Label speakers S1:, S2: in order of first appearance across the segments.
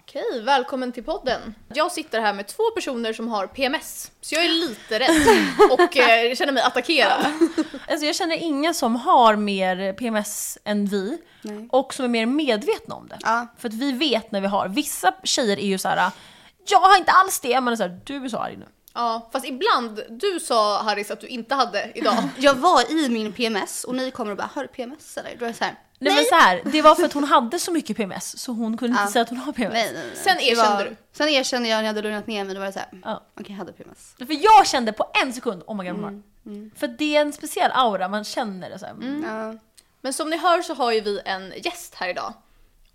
S1: Okej, välkommen till podden. Jag sitter här med två personer som har PMS, så jag är lite rädd och eh, känner mig attackerad.
S2: Alltså jag känner ingen som har mer PMS än vi
S3: Nej.
S2: och som är mer medvetna om det.
S3: Ja.
S2: För att vi vet när vi har. Vissa tjejer är ju så här. jag har inte alls det, men så här, du är så arg nu.
S1: Ja, fast ibland, du sa Harris att du inte hade idag.
S3: Jag var i min PMS och ni kommer och bara “har du PMS eller?” Då är det så här,
S2: Nej, men så här, det var för att hon hade så mycket PMS så hon kunde
S3: Ja.
S2: inte säga att hon har PMS.
S3: nej, nej, nej.
S1: Sen
S3: Det
S1: erkände
S3: var,
S1: du.
S3: Sen erkände jag när jag hade lugnat ner mig, då var det så här,
S2: Ja.
S3: okej jag hade PMS.
S2: För jag kände på en sekund, oh my god hon
S3: Mm,
S2: har. För det är en speciell aura, man känner det så här.
S3: Ja.
S1: Men som ni hör så har ju vi en gäst här idag.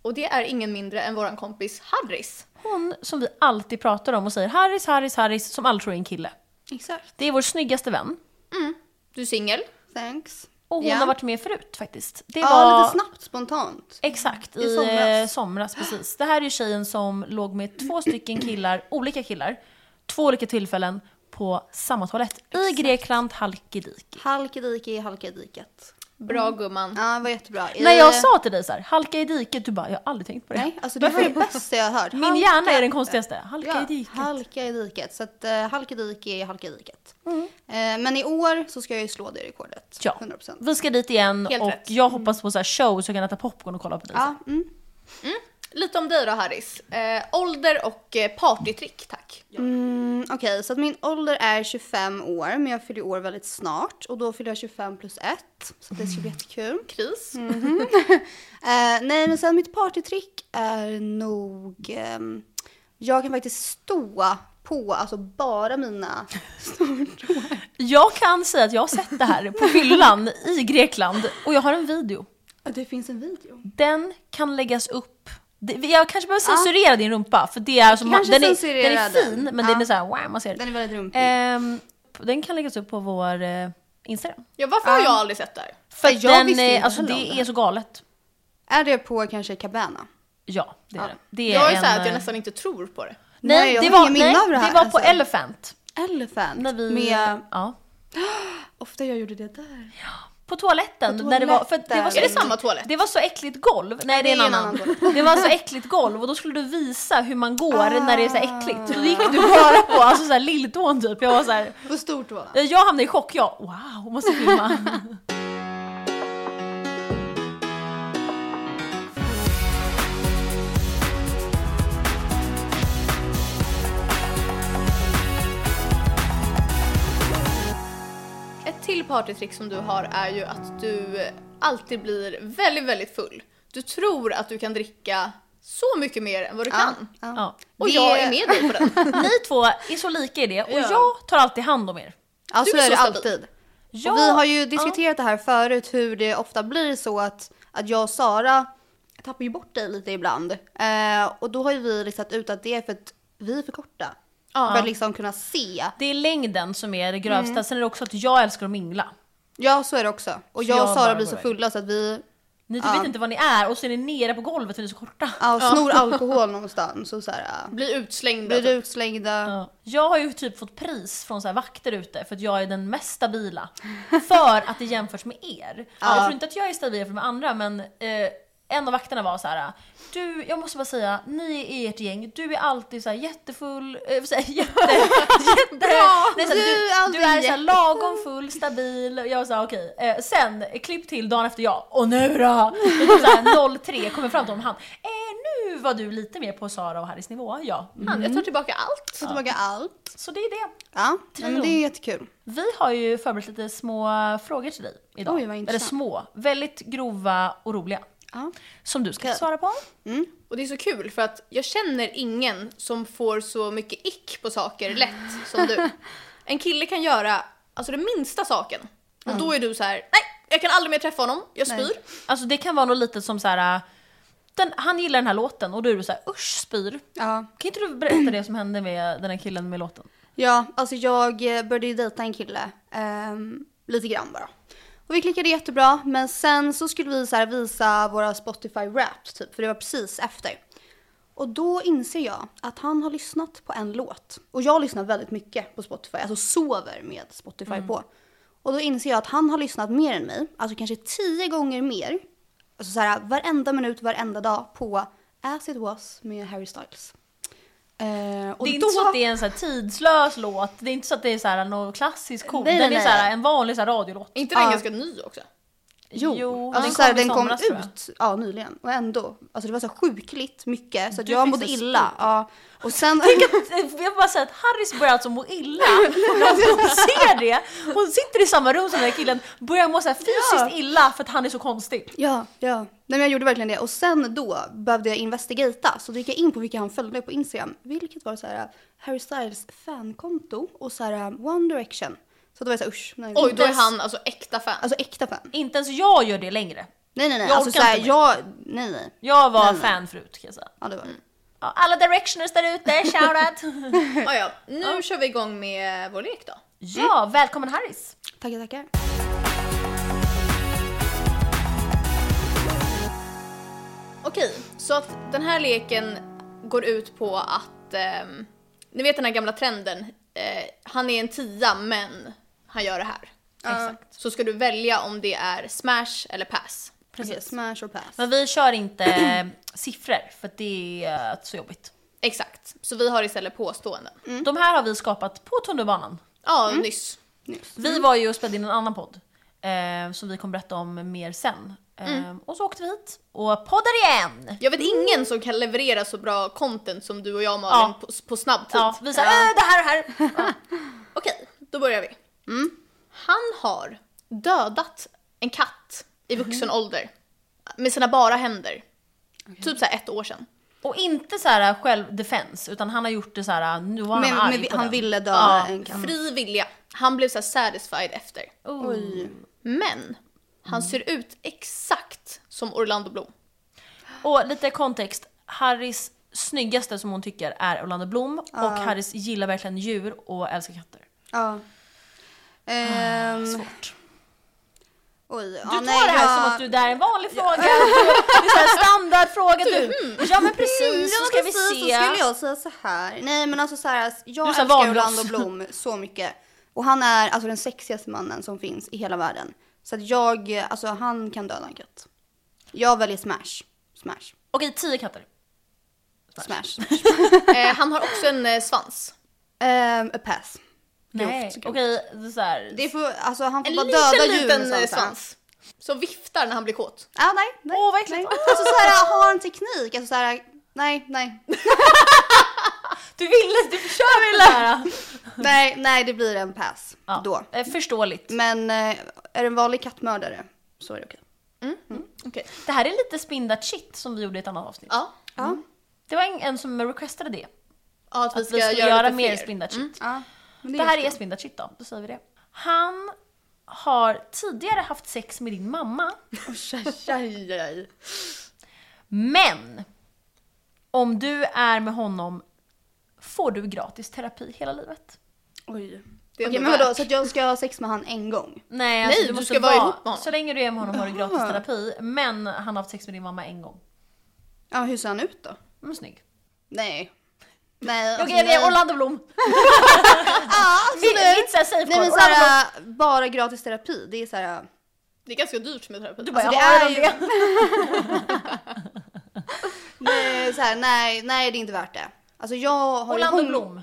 S1: Och det är ingen mindre än våran kompis Harris.
S2: Hon som vi alltid pratar om och säger Harris, Harris, Harris, som alla tror är en kille.
S3: Exakt.
S2: Det är vår snyggaste vän.
S1: Mm. Du är singel.
S3: Thanks.
S2: Och hon
S1: Ja.
S2: har varit med förut faktiskt. Det
S3: Ja,
S2: var...
S3: lite snabbt spontant.
S2: Exakt, i,
S3: I
S2: somras.
S3: somras.
S2: somras precis. Det här är ju tjejen som låg med två stycken killar, olika killar, två olika tillfällen på samma toalett i Grekland, Halkidiki.
S3: Halk i dike i halka i diket.
S1: Bra gumman.
S3: Ja, det var jättebra. I-
S2: När jag sa till dig så här, halka i diket, du bara, jag har aldrig tänkt på det.
S3: Nej, alltså det var det bästa jag har hört.
S2: Min hjärna är den konstigaste. Halka i diket.
S3: Ja, halka i diket. Så att uh, halka i diket är halka i diket. Eh, men i år så ska jag ju slå det rekordet.
S2: Mm. Ja,
S3: 100%.
S2: vi ska dit igen
S1: Helt
S2: och
S1: rätt.
S2: jag hoppas på så här show så jag kan äta popcorn och kolla på dig.
S3: Mm. Ja, mm.
S1: Lite om dig då Harris. Eh, ålder och eh, partytrick tack.
S3: Mm, Okej, så att min ålder är 25 år, men jag fyller år väldigt snart. Och då fyller jag 25 plus 1, så det ska bli jättekul.
S1: Kris.
S3: Eh, nej, men sen mitt partytrick är nog... ehm, jag kan faktiskt stå på, alltså bara mina stortår.
S2: Jag kan säga att jag har sett det här på fyllan i Grekland och jag har en video.
S3: Det finns en video.
S2: Den kan läggas upp. Det- Jag kanske behöver censurera din rumpa för det är som, den,
S3: Kanske
S2: är, den
S3: censurera
S2: är fin
S3: den.
S2: men
S3: Ja.
S2: den är såhär wow man ser.
S3: Den är väldigt rumpig.
S2: Den, den kan läggas upp på vår eh, Instagram.
S1: Ja, varför har jag aldrig sett det här?
S2: För
S3: Ja, jag
S2: den,
S3: visste
S2: eh,
S3: inte
S2: alltså,
S3: heller om
S2: det
S3: den.
S2: är så galet.
S3: Är det på kanske Cabana?
S2: Ja det är
S3: Ja.
S2: det. det är
S1: Jag är såhär
S2: en,
S1: att jag
S2: eh,
S1: nästan inte tror på det.
S2: Nej,
S3: Nej, jag
S2: det
S3: har
S2: var,
S3: inget minne
S2: nej
S3: av
S2: det,
S3: det här,
S2: var på
S3: alltså.
S2: Elephant.
S3: Elephant?
S2: När vi,
S3: Med,
S2: ja.
S3: ofta jag gjorde det där.
S2: På toaletten.
S3: På
S2: När det, var, för att det, var
S3: toaletten.
S2: så
S1: Är det
S2: äckligt-
S1: samma toalett?
S2: det var så äckligt golv. Nej det är en annan.
S3: toalett.
S2: Det var så äckligt golv och då skulle du visa hur man går när det är så här äckligt. Så då gick du bara på alltså så här lilltån typ. Jag var så här,
S3: På stortån?
S2: jag hamnade i chock. Jag wow, måste filma.
S1: Ett till partytrick som du har är ju att du alltid blir väldigt, väldigt full. Du tror att du kan dricka så mycket mer än vad du kan.
S2: Ja.
S1: Och
S3: Det-
S1: jag är med dig på den.
S2: Ni två är så lika i det och
S1: Ja.
S2: jag tar alltid hand om er.
S3: Ja,
S1: Du
S3: så
S1: är
S3: är det
S1: så stabil.
S3: alltid.
S2: Jag,
S3: Och vi har ju diskuterat det här förut hur det ofta blir så att, att jag och Sara tappar ju bort dig lite ibland. Eh, och då har ju vi listat ut att det är för att vi är för korta. För att liksom kunna se.
S2: Ja, det är längden som är det grövsta. Sen är det också att jag älskar att mingla.
S3: Ja så är det också. Och
S2: Så
S3: jag och
S2: jag
S3: Sara
S2: bara
S3: blir
S2: går
S3: så
S2: iväg.
S3: fulla så att vi
S2: Ni typ vet inte vad ni är och så är ni nere på golvet för ni är så korta.
S3: ja, och snor alkohol någonstans. Och så här, ja,
S1: Bli utslängd.
S3: blir
S1: alltså.
S3: utslängda.
S2: Ja. Jag har ju typ fått pris från så här vakter ute för att jag är den mest stabila. För att det jämförs med er. Jag tror inte att jag är stabil jämfört med andra men eh, en av vakterna var så här. Du, jag måste bara säga, ni är ert gäng, du är alltid så här jättefull, eh, vad säger jag? jätte, jätte, nej, så här,
S3: Du är
S2: du,
S3: alltid
S2: du är så här lagom full, stabil. Och jag sa okej. Eh, sen, eh, klipp till dagen efter jag, och nu då? Det är typ så här 03, kommer fram till honom, han, eh, nu var du lite mer på Sara och Harrys nivå, ja.
S1: Fan,
S3: Mm.
S1: jag tar tillbaka allt.
S3: Ta tillbaka allt.
S2: Så det är det.
S3: Ja, men det är jättekul.
S2: Vi har ju förberett lite små frågor till dig idag.
S3: Oj, vad
S2: Eller
S3: intressant.
S2: små, väldigt grova och roliga.
S3: Ja.
S2: Som du ska
S3: Okej.
S2: svara på.
S1: Och det är så kul för att jag känner ingen som får så mycket ick på saker lätt som du. En kille kan göra alltså den minsta saken och då är du så här: nej jag kan aldrig mer träffa honom, jag
S3: Mm. Nej.
S1: spyr.
S2: Alltså det kan vara något litet som så här. äh, Den, han gillar den här låten och då är du så här, usch spyr.
S3: Ja.
S2: Kan inte du berätta det som hände med den här killen med låten?
S3: Ja, alltså jag eh, började ju dejta en kille. ehm, lite grann bara. Och vi klickade jättebra, men sen så skulle vi så här visa våra Spotify Wraps typ, för det var precis efter. Och då inser jag att han har lyssnat på en låt. Och jag lyssnar väldigt mycket på Spotify, alltså sover med Spotify på. Och då inser jag att han har lyssnat mer än mig, alltså kanske tio gånger mer. Alltså så här varenda minut, varenda dag på As it was med Harry Styles. Eh, och
S2: det är inte
S3: då,
S2: så att det är en så här tidslös låt, det är inte så att det är så här någon klassisk cool.
S3: Nej, nej,
S2: den är
S3: nej.
S2: så här en vanlig så här radiolåt.
S1: Är inte den
S3: Ja.
S1: ganska ny också?
S3: Jo,
S2: Jo,
S3: alltså,
S2: den
S3: så här,
S2: kom i
S3: den kom
S2: somras, tror jag.
S3: ut ja, nyligen och ändå, alltså det var så här sjukligt mycket så att
S2: Du
S3: jag
S2: fick
S3: mådde
S2: så
S3: illa. Ja, och sen,
S2: Jag vill bara säga att Harris börjar alltså må illa när hon ser det. Hon sitter i samma rum som den här killen, börjar må så här fysiskt illa för att han är så konstig.
S3: ja, ja. Nej, men jag gjorde verkligen det och sen då behövde jag investigata så då gick jag in på vilka han följde på Instagram vilket var så här äh, Harry Styles fankonto och så här äh, One Direction. Så då var jag så här usch. Nej,
S1: Oj, då är
S2: ens-
S1: han alltså äkta fan.
S3: Alltså äkta fan.
S2: Inte ens jag gör det längre.
S3: Nej nej nej,
S2: Jag
S3: alltså
S2: orkar
S3: så här,
S2: inte mer.
S3: jag, nej nej.
S2: Jag var
S3: Nej, nej.
S2: fan förut kan jag säga.
S3: Ja, det var det.
S2: Ja, alla directioners där ute, shoutout!
S1: Ah, ja. Nu kör vi igång med vår lek då.
S2: Ja, välkommen Harris!
S3: Tackar, tackar.
S1: Okej, så att den här leken går ut på att, ehm, ni vet den här gamla trenden, eh, han är en tia men han gör det här.
S2: Exakt.
S1: Så ska du välja om det är smash eller pass.
S3: Precis. smash or pass.
S2: Men vi kör inte siffror för att det är eh, så jobbigt.
S1: Exakt, så vi har istället påståenden.
S3: Mm.
S2: De här har vi skapat på tunnelbanan.
S1: Ja,
S2: Mm.
S1: nyss.
S2: Vi
S3: Mm.
S2: var ju och spelade in en annan podd eh, som vi kommer berätta om mer sen. Eh,
S3: Mm.
S2: Och så åkte vi hit och poddar igen!
S1: Jag vet ingen som kan leverera så bra content som du och jag Malin på, på snabb tid. Eh,
S2: Ja, vi sa äh, det här och det här. Ja.
S1: Okej, då börjar vi.
S2: Mm.
S1: Han har dödat en katt i
S2: Mhm.
S1: vuxen ålder med sina bara händer. Typ så här ett år sedan.
S2: Och inte så här eh, självdefense utan han har gjort det så här eh, nu var han
S3: Men,
S2: arg
S3: men vi-
S2: på
S3: han
S2: den.
S3: ville döda
S1: Ja,
S3: en katt.
S1: fri vilja. Han blev så här satisfied efter.
S2: Oh.
S1: Men han
S2: Mm.
S1: ser ut exakt som Orlando Bloom.
S2: Och lite kontext, Harrys snyggaste som hon tycker är Orlando Bloom och Harrys gillar verkligen djur och älskar katter.
S3: Ja. Ehm,
S2: Ah, Svårt.
S3: oj. Du
S2: Du tar det här som att du, det här är en vanlig fråga, det är så här standardfråga. Du, ja men precis, så ska vi
S3: Mm. precis,
S2: se.
S3: Så skulle jag säga så här. Nej men alltså så här, jag
S2: Du sa
S3: älskar
S2: valross.
S3: Orlando Bloom så mycket. Och han är alltså den sexigaste mannen som finns i hela världen. Så att jag, alltså han kan döda en katt. Jag väljer smash. Smash.
S2: Okej, tio katter.
S3: Smash.
S1: Eh, han har också en eh, svans.
S3: Ehm, a pass.
S2: Nej,
S3: Grovt, grovt.
S2: okej, det är så här.
S3: Det får, alltså han får
S1: En
S3: bara
S1: liten,
S3: döda djur med
S1: liten eh,
S3: svansar.
S1: svans. Som viftar när han blir kåt.
S3: Ah, nej, nej.
S2: Åh, vad äckligt.
S3: nej. Alltså såhär, har en teknik. Alltså såhär, nej, nej.
S2: Du ville, du försökte ville. Här.
S3: Nej, nej det blir en pass
S2: Ja,
S3: då.
S2: eh, Förståeligt.
S3: Men eh, är det en vanlig kattmördare så är det okej.
S1: Mm.
S2: Mm.
S1: Okej.
S2: Det här är lite spindat shit som vi gjorde i ett annat avsnitt.
S1: Ja.
S3: Ja.
S2: Det var en, en som requestade det.
S1: ja, att vi
S2: Att
S1: ska,
S2: vi ska
S1: göra,
S2: göra,
S1: lite
S2: mer
S1: fler. Mm.
S2: spindat shit.
S3: ja. Men
S2: Det här är spindat shit då, då säger vi det. Han har tidigare haft sex med din mamma,
S1: Aj, aj, aj.
S2: men om du är med honom får du gratis terapi hela livet.
S3: Oj.
S1: Det är
S3: Okej,
S1: ändå
S3: men vadå,
S1: värt.
S3: så att jag ska ha sex med han en gång?
S2: Nej,
S1: alltså, du
S2: du,
S1: måste
S2: ska
S1: vara-
S2: Så länge du är med honom har du gratis terapi, men han har haft sex med din mamma en gång.
S3: Ja, hur ser han ut då?
S2: Mm, snygg.
S3: Nej. Nej,
S2: Okej, det är
S3: Alltså,
S2: Ah,
S3: nej.
S2: Orlando Bloom.
S3: Ja,
S2: Mitt
S3: absolut.
S2: mitt så här safe
S3: Nej
S2: call.
S3: men
S2: Orlando Bloom.
S3: såhär, bara gratis terapi, det är såhär,
S1: Det är ganska dyrt med terapi.
S2: Du bara,
S3: alltså,
S2: jag
S3: det
S2: har
S3: är
S2: det.
S3: nej, såhär, nej, nej det är inte värt det. Alltså jag har ju
S2: Orlando
S3: hon-
S2: Bloom.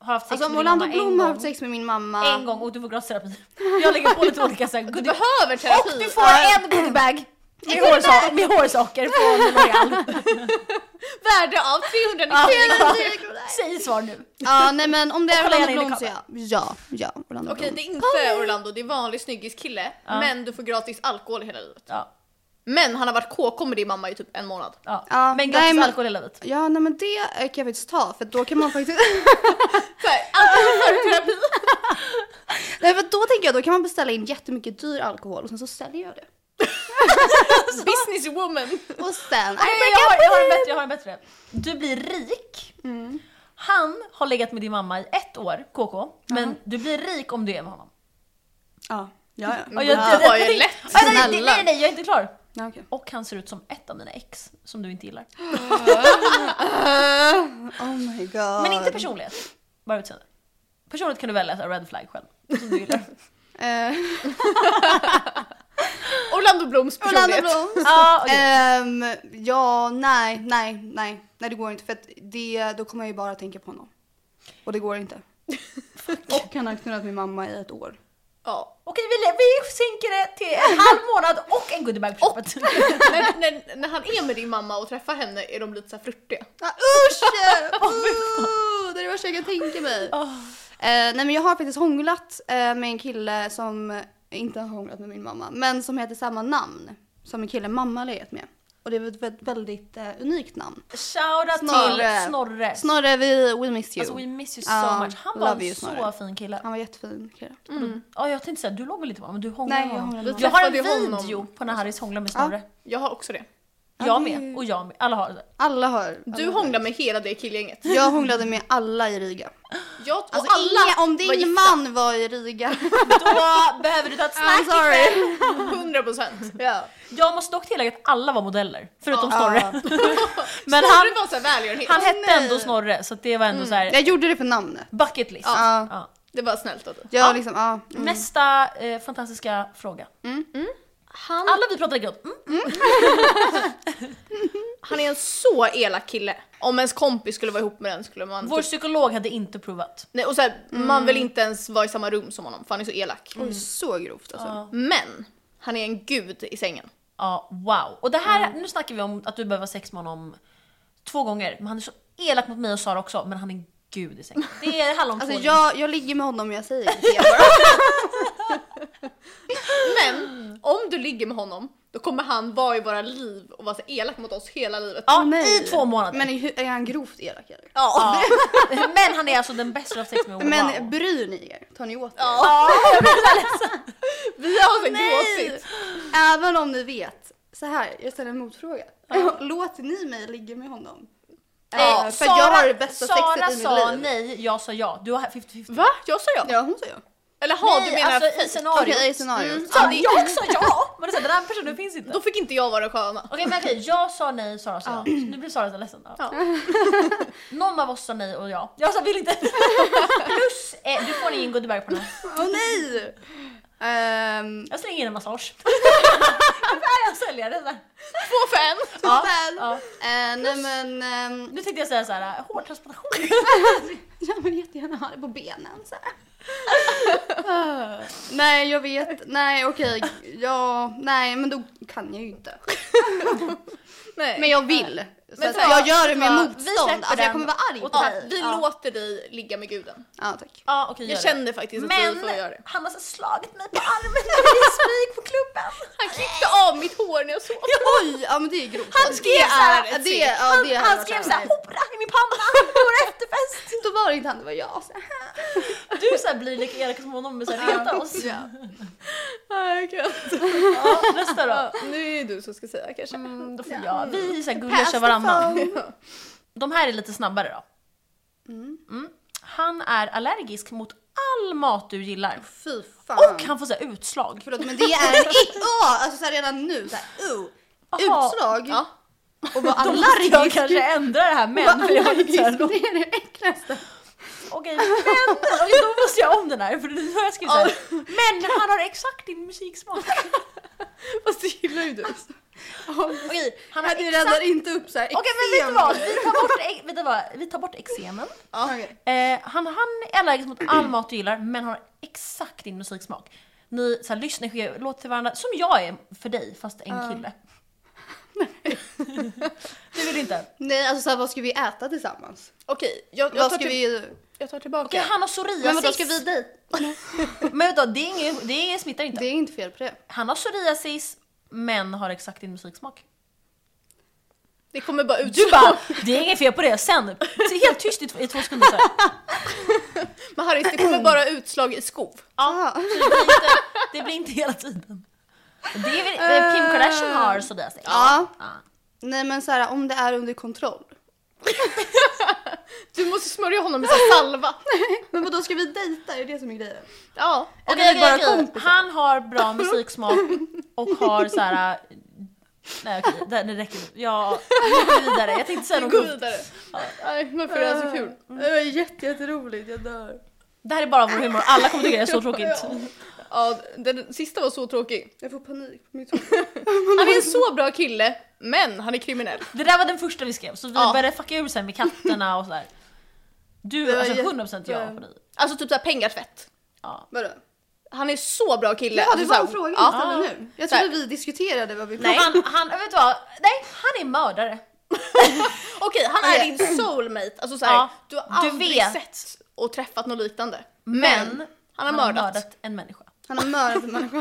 S2: Har haft sex
S3: Alltså om
S2: med din
S3: Orlando
S2: mamma en
S3: Bloom har
S2: gång.
S3: haft sex med min mamma.
S2: En gång och du får gratis terapi. Jag lägger på lite olika såhär
S1: Du
S2: goodie-
S1: behöver terapi.
S2: Och du får en goodiebag med, hårsa- med hårsaker från L'Oreal.
S1: Värde av 390
S2: Ja.
S1: kronor.
S2: Säg svar nu.
S3: Ja nej men om det är
S2: kolla
S3: Orlando
S2: gärna in i
S3: Bloom så ja. Ja, ja Orlando
S1: Okej, det
S3: Bloom.
S1: är inte Orlando, det är vanlig snyggiskille. Men du får gratis alkohol hela livet.
S2: Ja,
S1: Men han har varit KK med din mamma i typ en månad.
S2: ja.
S3: Ja,
S2: men
S3: nej,
S2: gratis
S3: men-
S2: alkohol hela livet.
S3: Ja nej men det eh, kan jag faktiskt ta för då kan man faktiskt,
S1: Såhär,
S2: Alltså.
S1: alkohol för terapi.
S3: nej för då tänker jag då kan man beställa in jättemycket dyr alkohol och sen så säljer jag det.
S1: Businesswoman.
S3: Och sen,
S2: Nej, jag, har, jag, har en bättre, jag har en bättre. Du blir rik.
S3: Mm.
S2: Han har legat med din mamma i ett år, KK. Men du blir rik om du är med honom.
S3: Ja, ja ja.
S2: Och
S1: Det var ju lätt.
S2: Ja, nej, nej,
S1: Snälla.
S2: nej, nej, jag är inte klar.
S3: Mm, ja okej.
S2: Och han ser ut som ett av mina ex som du inte gillar.
S3: Oh my god.
S2: Men inte personlighet, bara utseende. Personlighet kan du välja så här, red flag själv. Som du gillar.
S3: Eh,
S1: Orlando Blooms personlighet.
S3: Orlando Bloom.
S2: Ja, okej.
S3: Ehm, ja, nej, nej, nej. Nej det går inte för att det, då kommer jag ju bara tänka på honom. Och det går inte. Och han har knullat min mamma i ett år.
S1: Ja.
S2: Okej, vi, vi sinker det till en halv månad och en goodiebag på köpet.
S1: när, när, när han är med din mamma och träffar henne är de lite så här flörtiga.
S3: Ah, usch! Oh Uh, det är det värsta jag kan tänka mig.
S2: Åh.
S3: Eh, nej men jag har faktiskt hånglat eh, med en kille som inte har hånglat med min mamma men som heter samma namn som en kille mamma har legat med. Och det är ett väldigt, väldigt eh, unikt namn.
S2: Shoutout
S3: Snorre.
S2: till Snorre.
S3: Snorre, vi, we missed you.
S2: Alltså we miss you so
S3: Ja,
S2: much. Han var
S3: love you,
S2: en så
S3: Snorre.
S2: fin kille.
S3: Han var jättefin kille.
S2: Ja, jag tänkte säga, du låg väl lite med honom? men Du hånglade
S3: Nej,
S2: med
S3: jag
S2: honom.
S3: hånglade med
S2: Jag har en
S1: honom. Träffade
S2: video
S1: honom.
S2: på när Harris hånglar med Snorre.
S1: Jag har också det.
S2: Jag med, och jag med. Alla har det.
S3: Alla har.
S1: Du hånglar med hela det killgänget.
S3: Jag hånglade med alla i Riga.
S1: Jag, och
S3: Alltså,
S1: alla
S3: inga,
S1: var
S3: om din
S1: gifta.
S3: man var i Riga.
S2: Då behöver du ta ett
S3: I'm
S2: snack ikväll.
S3: sorry.
S1: 100 procent.
S3: Ja.
S2: Jag måste dock tillägga att alla var modeller, förutom Snorre.
S3: Ja.
S2: Men
S1: Snorre
S2: han,
S1: var så här välgörenhet.
S2: han hette
S3: nej.
S2: ändå Snorre, så att det var ändå så här
S3: Jag gjorde det för namnet.
S2: bucket list.
S3: Ja.
S2: Ja.
S1: Det var snällt av dig.
S3: Jag liksom, ja. Mm.
S2: Nästa eh, fantastiska fråga.
S1: Han,
S2: Alla vi pratade grått. Mm.
S1: han är en så elak kille. Om ens kompis skulle vara ihop med den skulle
S3: Mm.
S1: man...
S2: Vår
S1: Typ,
S2: psykolog hade inte provat.
S1: nej, och så här, Man vill inte ens vara i samma rum som honom för han är så elak.
S3: Oj, så grovt alltså.
S2: Ja.
S1: Men han är en gud i sängen.
S2: Ja, wow. Och det här,
S3: Mm.
S2: nu snackar vi om att du behöver ha sex med honom två gånger. Men han är så elak mot mig och Sara också, men han är gud i sängen. Det handlar om
S3: Alltså
S2: två
S3: jag, jag ligger med honom och jag säger inte det bara.
S1: Men om du ligger med honom då kommer han vara i våra liv och vara så elak mot oss hela livet.
S2: Ja,
S3: Nej.
S2: i två månader.
S3: Men är, hu- är han grovt elak eller?
S2: Ja. men han är alltså den bästa du har haft sex med. Wow.
S3: Men bryr ni er? Tar ni åt er?
S1: Ja. Vi har så gråtit.
S3: Även om ni vet. Så här, jag ställer en motfråga. Låter ni mig ligga med honom?
S2: Eh,
S3: Eh, för att jag har det bästa
S2: Sara
S3: sexet i mitt
S2: sa
S3: liv.
S2: nej, jag sa ja. Du har 50-50.
S1: Va? Jag sa ja.
S3: Ja, hon sa ja.
S1: Eller har
S2: nej,
S1: du menar...
S2: alltså i
S3: Okej,
S2: scenariot.
S3: i scenariot.
S2: Så jag sa ja! Men det är så här, den här personen finns inte.
S1: Då fick inte jag vara den sköna.
S2: Okej, men okej, jag sa nej, Sara sa ja. Så Nu blir Sara så ledsen. Ja.
S1: Ja.
S2: Någon av oss sa nej och jag. Jag sa vill inte. Plus, eh, du får ingen goodiebag på den här.
S3: Mm. Åh nej!
S2: Mm.
S3: Ehm,
S2: Jag slänger in en massage. Varför är jag säljare? Så här.
S1: Två för en.
S2: Ja,
S3: väl.
S2: ja.
S3: eh, nej men, ehm,
S2: Nu tänkte jag säga så här, eh, hårtransplantation.
S3: jag vill jättegärna ha det på benen så här. Ah, nej jag vet, nej okej, ja, nej men då kan jag ju inte.
S1: Nej.
S3: Men jag vill. Så
S1: Men
S3: att
S1: för-
S3: jag gör det
S1: vi
S3: med
S2: släpper
S3: motstånd, alltså
S2: den
S3: jag kommer vara arg på
S2: och
S1: ja,
S3: dig.
S1: vi
S2: Ja.
S1: låter dig ligga med guden.
S3: Ja tack.
S2: Ja, okej, gör
S1: Jag
S2: det.
S1: kände faktiskt att vi
S2: Men
S1: får göra det.
S2: han har så slagit mig på armen i smyg på klubben.
S1: Han klippte av mitt hår när jag sov.
S3: Oj, ja men det är grovt.
S1: Han skrev så här,
S3: det, är-
S1: ett
S3: det, ja, det
S2: han,
S3: hade
S2: han
S3: varit
S2: skrev
S3: så
S2: såhär
S3: här.
S2: hora i min panna på vår efterfest.
S3: Då var det inte han, det var jag. Så här.
S2: Du så här blir lika elak som honom men såhär reta oss.
S3: Ja.
S1: Nej, jag kan inte.
S2: Ja, nästa då.
S1: Nu är det du som ska säga kanske.
S2: Mm, då får jag. Vi är såhär gulliga
S3: Pass
S2: kör
S3: the
S2: varannan.
S3: phone.
S2: De här är lite snabbare då. Mm. Han är allergisk mot all mat du gillar.
S3: Fy fan.
S2: Och han får så här utslag.
S3: Förlåt men det är en ick! Åh, alltså så här redan nu, så här, uh.
S2: Aha.
S3: Utslag
S1: Ja.
S3: och vara
S2: Då måste jag
S3: allergisk.
S2: kanske ändra det här men. För
S3: Vara
S2: jag är lite
S3: allergisk,
S2: så
S3: det
S2: här,
S3: är det äckligaste.
S2: Okej, men okej, då måste jag om den här för nu har jag skrivit så här. Men han har exakt din musiksmak.
S1: Fast det gillar ju du.
S2: Okej, han har
S3: Nej, det
S2: exakt...
S3: räddar inte upp såhär
S2: Okej men vet du vad? Vi tar bort, ex- vet du vad? Vi tar bort exemen. Eh, han, han är allergisk mot all mat du gillar men har exakt din musiksmak. Ni så här, lyssnar sker, låter till varandra, som jag är för dig fast en kille. du vill inte?
S3: Nej alltså så här, vad ska vi äta tillsammans?
S1: Okej, jag, jag,
S3: Vad
S1: tar
S3: ska
S1: till,
S3: vi...
S1: jag tar tillbaka.
S2: Okej, han har
S3: Men vadå
S2: psoriasis.
S3: ska vi dejta?
S2: Men vet du, vad, det, är inget, det är- smittar inte.
S3: Det är inte fel på det.
S2: Han har psoriasis men har exakt din musiksmak.
S1: Det kommer bara ut.
S2: Du bara, det är inget fel på det. Sen, så helt tyst i, t- i två sekunder så här.
S1: Men Harris, det kommer bara utslag i skov.
S2: Ja,
S3: Ah.
S2: så det, blir inte, det blir inte hela tiden. Det är väl, eh, Kim Kardashian har psoriasis.
S3: Ja.
S2: ja.
S3: Nej men så här, om det är under kontroll.
S1: Du måste smörja honom med så här salva.
S3: Men vadå ska vi dejta? Är det det som är grejen?
S1: Ja.
S3: Eller
S2: Okej,
S3: är vi bara
S2: okej, okej.
S3: kompisar?
S2: Han har bra musiksmak och har så här. Nej okej, det, det räcker nu. Jag vi går vidare. Jag tänkte säga något.
S1: Gå
S2: coolt.
S1: vidare. Nej, varför är det här så kul?
S3: Mm. Det var jätte, jätteroligt, jag dör.
S2: Det här är bara vår humor, alla kommer tycka det är så tråkigt.
S1: Ja, den sista var så tråkig.
S3: Jag får panik på mitt
S1: Han är en så bra kille, men han är kriminell.
S2: Det där var den första vi skrev, så vi
S1: Ja.
S2: började fucka ur sen med katterna och sådär.
S1: Det
S2: Du,
S1: var
S2: alltså
S1: jätte-
S2: 100% ja på dig.
S1: Alltså typ såhär pengatvätt.
S2: Ja.
S3: Vadå?
S1: Han är så bra kille.
S3: Ja, det
S1: Alltså,
S3: var en
S1: såhär-
S3: fråga
S1: Ja.
S3: vi ställde nu. Jag trodde vi diskuterade vad vi pratade om.
S2: Han, han, vet du vad? Nej, han är mördare.
S1: Okej, han är din soulmate. Alltså såhär,
S2: Ja,
S1: du har
S2: du
S1: aldrig
S2: vet.
S1: sett och träffat något liknande.
S2: Men
S1: han har mördat.
S2: en människa.
S3: Han har mördat en människa.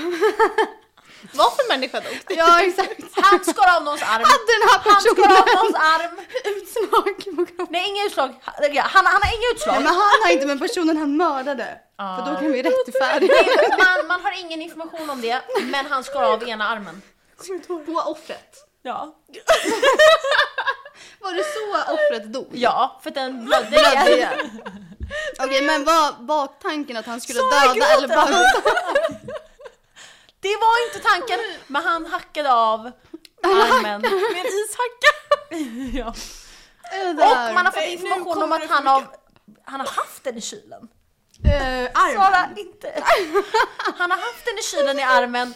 S1: Vad för människa dog?
S3: Ja, exakt.
S2: Han skar av någons arm.
S3: Hade den här
S2: Han skar
S3: personen
S2: av någons arm.
S3: utslag på kroppen?
S2: Nej, inga utslag. Han, han har inga
S3: Nej,
S2: utslag.
S3: men han har inte, men personen han mördade.
S2: Ah.
S3: För då kan vi rättfärdiga.
S2: Man, man har ingen information om det, men han skar av ena armen.
S3: På offret.
S2: Ja.
S3: Var det så offret dog?
S2: Ja, för den blödde
S3: Blödde
S2: igen.
S3: igen. Okej, men var, var tanken att han skulle
S2: Så
S3: döda
S2: gråter
S3: eller bara...
S2: Det var inte tanken, men han hackade av armen.
S1: Med en ishacka.
S2: Ja.
S3: Äh, där.
S2: Och man har fått
S1: Nej, nu
S2: information
S1: kommer
S2: om att
S1: det
S2: han har, han har haft den i kylen.
S3: Eh, armen.
S2: Sara, inte. Han har haft den i kylen i armen.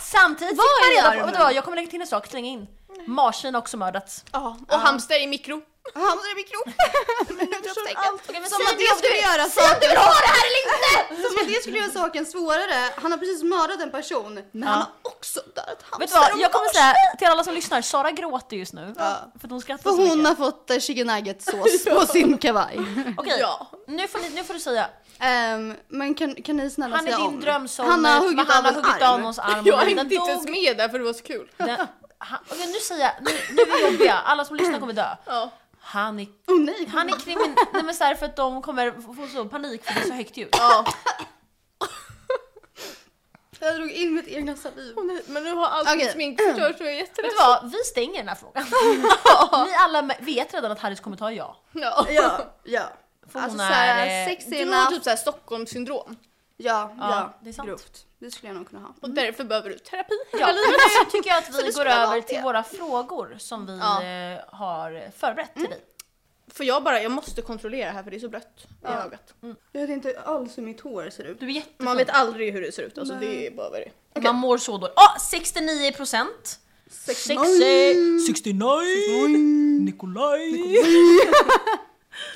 S2: Samtidigt
S3: Vad
S2: fick
S3: är
S2: man
S3: i
S2: reda på, vet du vad, jag kommer lägga till en sak, slänga in. Marsvin har också mördats.
S1: Ja, och hamster i mikro.
S3: Hamstrar i mikro.
S1: Eftersom
S3: Eftersom
S1: allt- Okej, men
S3: Som
S1: säg
S3: att
S1: det
S3: det
S1: om
S3: skulle
S1: du-
S3: göra
S1: säg om du
S3: saken,
S1: vill ha det här eller inte!
S3: som att det skulle göra saken svårare. Han har precis mördat en person, men han har också dödat
S2: Vet du
S3: hamstrar.
S2: vad, jag kommer säga till alla som lyssnar, Sara gråter just nu.
S3: Ja.
S2: För att hon skrattar
S3: För
S2: så
S3: hon
S2: mycket.
S3: har fått eh, chicken nugget-sås på sin kavaj.
S2: Okej,
S1: Ja.
S2: nu, får ni, nu får du säga.
S3: Ehm, men kan, kan ni snälla
S2: Han är
S3: säga
S2: din
S3: om?
S2: drömsoulmate,
S3: Han har huggit
S2: men han
S3: av
S2: har
S3: en
S2: huggit
S3: arm.
S2: av någons arm.
S1: Jag
S2: men
S1: hängde
S2: den
S1: inte ens
S2: dog.
S1: med där för det var så kul.
S2: Den, han, okej, nu säger jag, nu, nu är vi jobbiga, alla som lyssnar kommer dö.
S1: Ja.
S2: Han är,
S3: Åh nej,
S2: han är krimin... Nej men så här, för att de kommer få- få så panik för det är så högt ljud.
S1: ja.
S3: jag drog in mitt egna saliv.
S1: Men nu har allt mitt
S3: Okej.
S1: smink förstörts och jag är
S2: Vet du
S1: jätteledsen.
S2: vad, vi stänger den här frågan. Ni alla me- vet redan att Harrys kommer ta ja.
S1: Ja.
S3: Ja, ja.
S2: För
S3: Alltså
S2: hon
S3: såhär
S2: är, eh,
S3: sexy
S1: Du har
S3: enough.
S1: typ såhär Stockholmssyndrom
S3: Ja,
S2: Ja,
S3: ja,
S2: det är sant.
S3: grovt. Det skulle jag nog kunna ha.
S1: och därför behöver du terapi.
S2: Ja, nu tycker jag att
S3: Så det
S2: vi går
S3: skulle vara
S2: över
S3: det.
S2: till våra frågor som vi
S1: Ja.
S2: eh, har förberett
S3: Mm.
S2: till dig.
S1: För jag bara, jag måste kontrollera här för det är så blött i
S3: Ja.
S1: ögat.
S3: Jag vet inte alls hur mitt hår ser ut.
S2: Du är jättefin.
S1: Man
S2: Man,
S1: vet aldrig hur det ser ut, alltså det är bara vad det är.
S2: mår så dåligt. Åh, 69 procent! Sexy! 69! Nikolaj!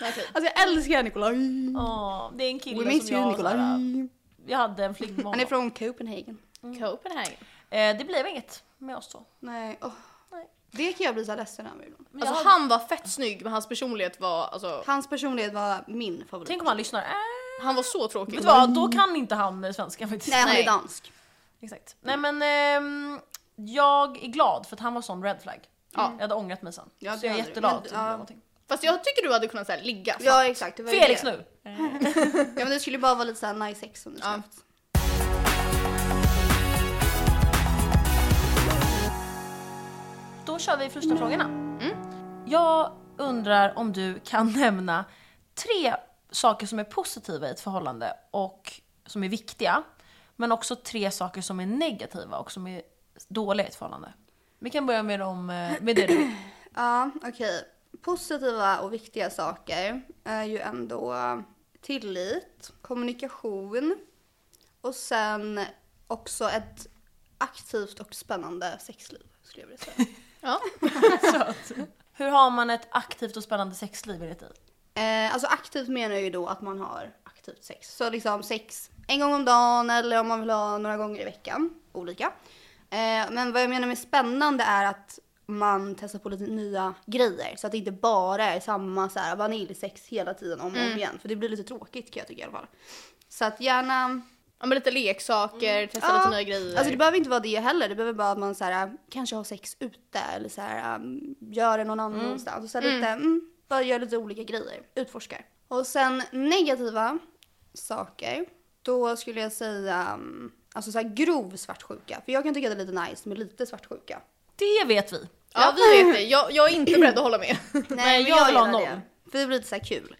S1: Okej.
S3: Alltså jag älskar Nikolaj.
S2: Åh, Ah, det är en
S3: We
S2: kille
S3: miss
S2: som
S3: you
S2: jag
S3: Nikolaj.
S2: såhär, Jag hade en flickvän med
S3: Han är
S2: honom.
S3: från Copenhagen.
S1: Mm. Copenhagen.
S2: Eh, Det blev inget med oss då.
S3: Nej, åh.
S2: Nej.
S3: Det kan jag bli så här ledsen över ibland.
S2: Men jag-
S1: Alltså han var fett snygg men hans personlighet var, alltså
S3: Hans personlighet var min favorit.
S2: Tänk om han lyssnar. Äh,
S1: han var så tråkig.
S2: vet du vad, då kan inte han eh, svenska faktiskt.
S3: Mm. Nej, han
S1: Nej.
S3: är dansk.
S2: Exakt. Nej men ehm, jag är glad för att han var sån red flag.
S1: Ja.
S2: Jag hade ångrat mig sen.
S3: Ja,
S2: så
S3: det
S2: jag är
S3: hade du.
S2: jätteglad.
S3: Men-
S2: att det
S3: ja.
S2: blev någonting.
S1: Fast jag tycker du hade kunnat så här, ligga.
S3: Ja exakt. Det var ju
S2: Felix
S3: det.
S2: nu!
S3: Ja men det skulle bara vara lite såhär nice sex som du skulle
S1: Ja.
S3: haft.
S2: Då kör vi första frågorna. Jag undrar om du kan nämna tre saker som är positiva i ett förhållande och som är viktiga. Men också tre saker som är negativa och som är dåliga i ett förhållande. Vi kan börja med, dem, eh, med det du
S3: Ja, okej. Positiva och viktiga saker är ju ändå tillit, kommunikation och sen också ett aktivt och spännande sexliv skulle jag vilja säga.
S1: Ja.
S2: Hur har man ett aktivt och spännande sexliv enligt dig?
S3: eh, alltså aktivt menar jag ju då att man har aktivt sex. Så liksom sex en gång om dagen eller om man vill ha några gånger i veckan. Olika. Eh, men vad jag menar med spännande är att man testar på lite nya grejer. Så att det inte bara är samma så här, vaniljsex hela tiden om och om igen. För det blir lite tråkigt kan jag tycka i alla fall. Så att gärna
S1: Ja, men lite leksaker, testa
S3: Ja.
S1: lite nya grejer.
S3: Alltså det behöver inte vara det heller. Det behöver bara att man så här, kanske har sex ute eller så här, um, gör det någon annanstans. Och så här, lite, mm, bara gör lite olika grejer, utforskar. Och sen negativa saker. Då skulle jag säga um, alltså så här, grov svartsjuka. För jag kan tycka det är lite nice med lite svartsjuka.
S2: Det vet vi.
S1: Ja vi vet det, jag, jag är inte beredd att hålla med.
S2: Nej, jag vill ha
S3: gillar
S2: noll. Mm.
S3: För det blir lite så här kul.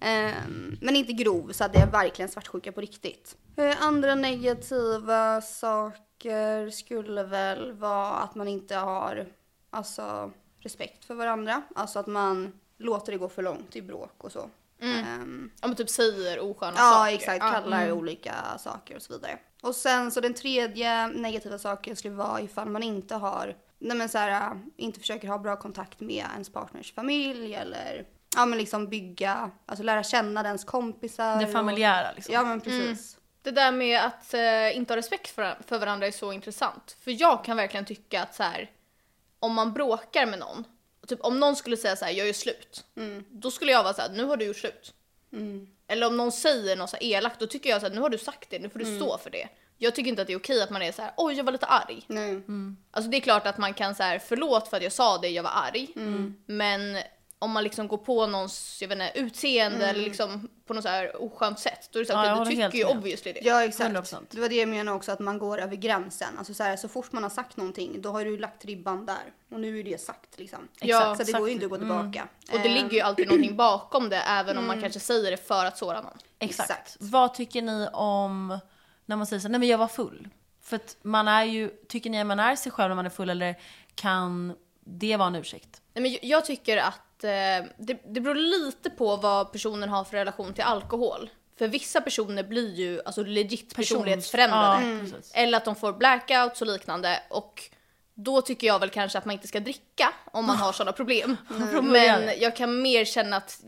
S3: Ehm, men inte grov så att det är verkligen svartsjuka på riktigt. Eh, andra negativa saker skulle väl vara att man inte har alltså, respekt för varandra. Alltså att man låter det gå för långt i bråk och så.
S2: Mm.
S3: Ehm,
S1: Ja men typ säger osköna
S3: ja
S1: saker.
S3: exakt,
S1: Ja.
S3: kallar olika saker och så vidare. Och sen så den tredje negativa saken skulle vara ifall man inte har, nej men så här, äh, inte försöker ha bra kontakt med ens partners familj eller ja men liksom bygga, alltså lära känna dens kompisar.
S2: Det familjära
S3: Och,
S2: liksom.
S3: ja men precis.
S1: Det där med att eh, inte ha respekt för, för varandra är så intressant. För jag kan verkligen tycka att så här, om man bråkar med någon, typ om någon skulle säga så här, jag gör slut.
S3: Mm.
S1: Då skulle jag vara så här, nu har du gjort slut. Eller om någon säger något så här elakt, då tycker jag så här, nu har du sagt det, nu får du
S3: Mm.
S1: stå för det. Jag tycker inte att det är okej att man är så här, oj jag var lite arg.
S3: Nej.
S1: Alltså det är klart att man kan så här, förlåt för att jag sa det, jag var arg.
S2: Mm.
S1: Men om man liksom går på någons jag vet inte, utseende eller liksom på något så här oskönt sätt, då är det så
S2: Mm. Ja,
S1: här,
S2: jag
S1: okej, du
S2: håller helt
S1: tycker ju
S2: med.
S1: obviously det.
S3: Ja exakt.
S2: 100%.
S3: Det var det jag menade också att man går över gränsen. Alltså så, här, så fort man har sagt någonting då har du lagt ribban där. Och nu är det sagt liksom.
S1: Ja,
S3: så det
S2: exakt.
S3: går ju inte att gå tillbaka.
S1: Och det
S3: Eh,
S1: ligger ju alltid någonting bakom det även om
S2: Mm.
S1: man kanske säger det för att såra någon.
S2: Exakt.
S3: Exakt.
S2: Vad tycker ni om när man säger så här, nej men jag var full? För att man är ju, tycker ni att man är sig själv när man är full eller kan det vara en ursäkt?
S1: Nej, men jag- jag tycker att eh, det, det beror lite på vad personen har för relation till alkohol. För vissa personer blir ju alltså legit personlighetsförändrade.
S2: Ja, precis.
S1: Eller att de får blackouts och liknande. Och då tycker jag väl kanske att man inte ska dricka om man har sådana problem. Men jag kan mer känna att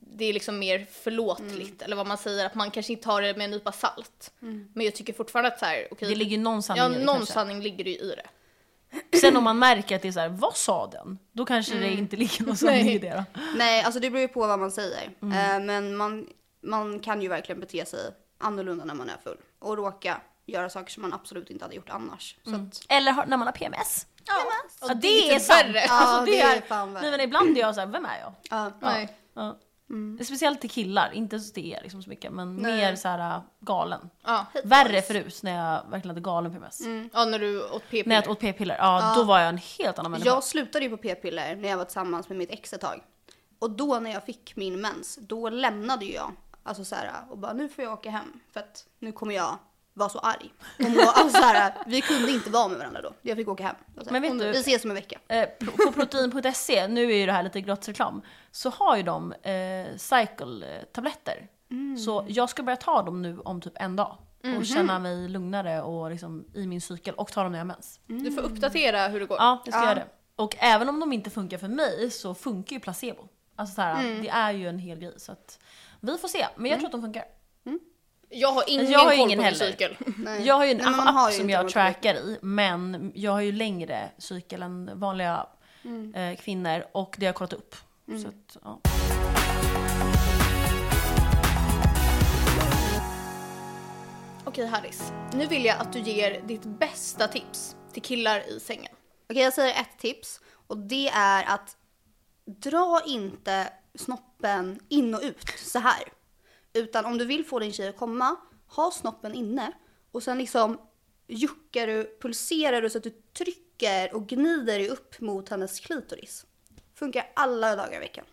S1: det är liksom mer förlåtligt, eller vad man säger, att man kanske inte tar det med en nypa salt. Men jag tycker fortfarande att så här, okej,
S2: Det ligger ju någon sanning
S1: ja,
S2: i det
S1: någon
S2: kanske.
S1: sanning ligger det ju i det.
S2: Sen om man märker att det är så här, vad sa den? Då kanske det inte ligger någon sanning i det då.
S3: Nej, alltså det beror ju på vad man säger.
S2: Mm.
S3: Eh, men man, man kan ju verkligen bete sig annorlunda när man är full. Och råka göra saker som man absolut inte hade gjort annars. Så
S2: Mm.
S3: att,
S2: Eller har- när man har PMS.
S1: Ja,
S2: Ja, Alltså, det,
S1: lite
S2: är sant.
S1: värre.
S3: Ja,
S2: Alltså, det,
S3: det är
S2: är,
S3: fan värre.
S2: nej, men ibland är jag så här, vem är jag?
S3: ja.
S1: Nej.
S2: Ja. Speciellt till killar, inte så till er liksom så mycket men mer så här äh, galen.
S1: Ja.
S2: Värre förut när jag verkligen hade galen PMS.
S1: ja, när du åt p
S2: När jag åt p-piller, ja, då var jag en helt annan människa.
S3: Jag slutade ju på p-piller när jag var tillsammans med mitt ex ett tag. Och då när jag fick min mens, då lämnade ju jag. Alltså så här, och bara nu får jag åka hem för att nu kommer jag vara så arg. Och må, alltså så här, vi kunde inte vara med varandra då. Jag fick åka hem. Och så här,
S2: Men vet du-
S3: vi ses om en vecka.
S2: Eh, pro- på protein.se, nu är ju det här lite gratisreklam, så har ju de eh, cycle-tabletter. Så jag ska börja ta dem nu om typ en dag. Och känna mig lugnare och liksom, i min cykel och ta dem när jag har mens.
S1: Du får uppdatera hur det går.
S2: Ja, jag ska göra det. Och även om de inte funkar för mig så funkar ju placebo. Alltså så här, det är ju en hel grej. Så att vi får se, men jag tror att de funkar.
S1: Mm. Jag har ingen
S2: Alltså, Jag har
S1: koll
S2: ingen
S1: på min
S2: heller.
S1: cykel.
S3: Nej.
S2: Jag har ju en
S3: Nej, men man
S2: app
S3: har ju
S2: som
S3: inte
S2: jag
S3: något
S2: trackar i, men jag har ju längre cykel än vanliga
S3: Mm.
S2: eh, kvinnor och det har jag kollat upp. Så att, ja.
S1: Okej Harris, nu vill jag att du ger ditt bästa tips till killar i sängen.
S3: Okej, jag säger ett tips. Och det är att dra inte snoppen in och ut så här. Utan om du vill få din tjej att komma, ha snoppen inne och sen liksom juckar du, pulserar du så att du trycker och gnider dig upp mot hennes klitoris. Funkar alla dagar i veckan.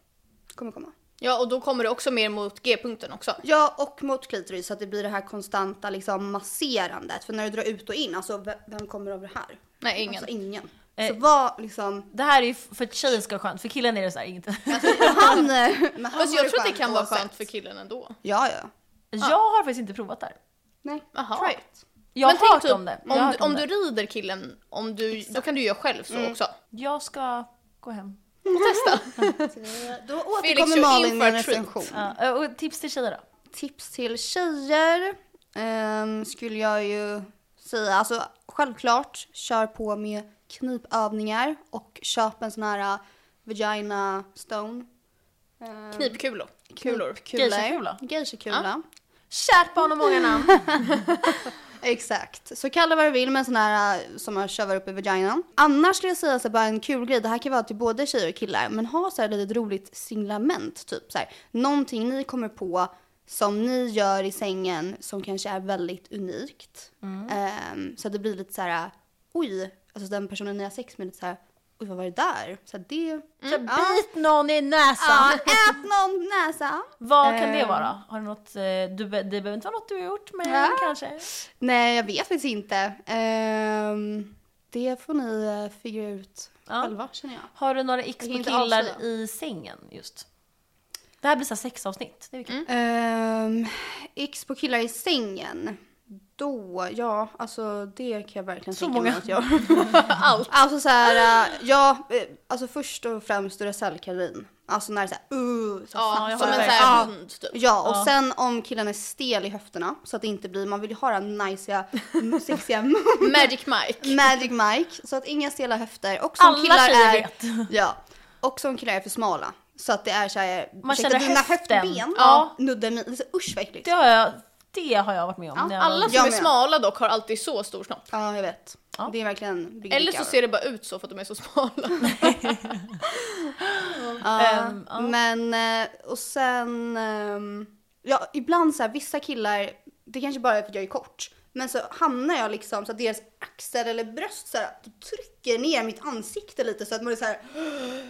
S3: Kommer komma.
S1: Ja, och då kommer det också mer mot G-punkten också.
S3: Ja, och mot klitoris så att det blir det här konstanta liksom masserandet. För när du drar ut och in, alltså v- vem kommer över här?
S1: Nej, ingen.
S3: Alltså ingen. Så
S2: Eh.
S3: var liksom
S2: Det här är ju för att tjejen ska vara skönt, för killen är det så här inget.
S3: Alltså, Han, men han
S1: Fast
S3: har
S1: jag tror att det
S3: skönt
S1: kan vara
S3: oavsett.
S1: skönt för killen ändå.
S3: Ja, ja.
S2: Jag har faktiskt inte provat det här.
S3: Nej.
S1: Jaha.
S3: Try it.
S2: Jag
S1: Men
S2: har
S1: tänk
S2: hört
S1: typ,
S2: om det. Jag har
S1: Om,
S2: hört
S1: du- om
S2: det. Mm.
S1: du rider killen, om du, då kan du göra själv så också.
S2: Jag ska gå hem. Mm.
S3: Då
S1: Felix,
S3: återkommer
S1: you're
S3: Malin
S1: in
S3: med
S1: for
S3: en
S1: a treat.
S3: recension.
S2: Ja, och tips till tjejer då?
S3: Tips till tjejer ehm, skulle jag ju säga. Alltså självklart, kör på med knipövningar och köp en sån här eh, vagina stone. Ehm,
S1: Knipkulor. Kulor.
S3: Kulor.
S2: Geishakula.
S3: Geishakula.
S2: Kärt barn och många namn.
S3: Exakt. Så kalla vad du vill med en sån här äh, som man kövar upp i vaginan. Annars skulle jag säga så här, bara en kul grej. Det här kan vara till både tjejer och killar. Men ha så här lite roligt singlement. Typ så här. Någonting ni kommer på som ni gör i sängen som kanske är väldigt unikt. Ehm, så att det blir lite så här, oj, alltså den personen ni har sex med lite så här, oj vad var det där? Så här, det...
S2: Så bit någon i
S3: Mm. Ja,
S2: näsan.
S3: ät någon näsa.
S2: Vad kan det vara? Har du något, eh, du, be- det behöver inte vara något du har gjort men
S3: Ja.
S2: kanske?
S3: Nej, jag vet faktiskt inte. Ehm, det får ni eh, figura ut
S2: Ja.
S3: själva känner jag.
S2: Har du några x
S3: Jag
S2: på
S3: kan inte
S2: killar
S3: avslöja.
S2: i sängen just? Det här blir så här sexavsnitt. Det är mm.
S3: Ehm, X på killar i sängen. Då, ja, alltså det kan jag verkligen
S2: Så
S3: tänka
S2: många.
S3: mig att jag... Allt. Alltså så här, äh, ja, eh, alltså först och främst Duracell-kanin. Alltså när det är så här, uh, så
S1: Ja,
S3: fan,
S2: jag
S1: som en sån
S2: håller
S3: verkligen.
S1: här
S3: Ja.
S1: hund typ.
S3: Ja, och
S2: Ja.
S3: sen om killen är stel i höfterna så att det inte blir, man vill ju ha den najsiga, sexiga
S1: Magic
S2: Mm.
S1: Mike.
S3: Magic Mike. Så att inga stela höfter. Och som
S2: Alla
S3: killar
S2: tjejer
S3: är...
S2: vet.
S3: Ja. Och som killar är för smala. Så att det är såhär,
S2: Man känner
S3: dina
S2: höften.
S3: höftben
S2: Ja.
S3: nuddar min, det är så usch vad äckligt.
S2: Det har jag, det har jag varit med om.
S3: Ja,
S2: när jag var
S1: Alla som
S3: Jag
S1: är
S3: med.
S1: smala dock har alltid så stor snopp.
S3: Ja, jag vet.
S2: Ja.
S3: Det är verkligen big
S1: Eller
S3: dick
S1: så
S3: hour.
S1: ser det bara ut så för att de är så smala.
S3: Ja,
S2: Ehm, ja.
S3: Men, eh, och sen, ehm, ja ibland så här, vissa killar, det kanske bara är för att jag är kort. Men så hamnar jag liksom så att deras axel eller bröst så här, trycker ner mitt ansikte lite så att man är så här,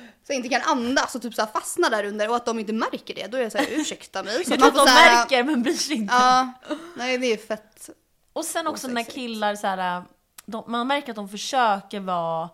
S3: så jag inte kan andas och typ så här fastnar där under och att de inte märker det. Då är jag så här, ursäkta mig. Så
S2: Jag tror
S3: att man
S2: att de
S3: får så här,
S2: märker men bryr sig inte.
S3: Ja, nej det är ju fett.
S2: Och sen också när
S3: Osexigt.
S2: killar så här, de, man märker att de försöker vara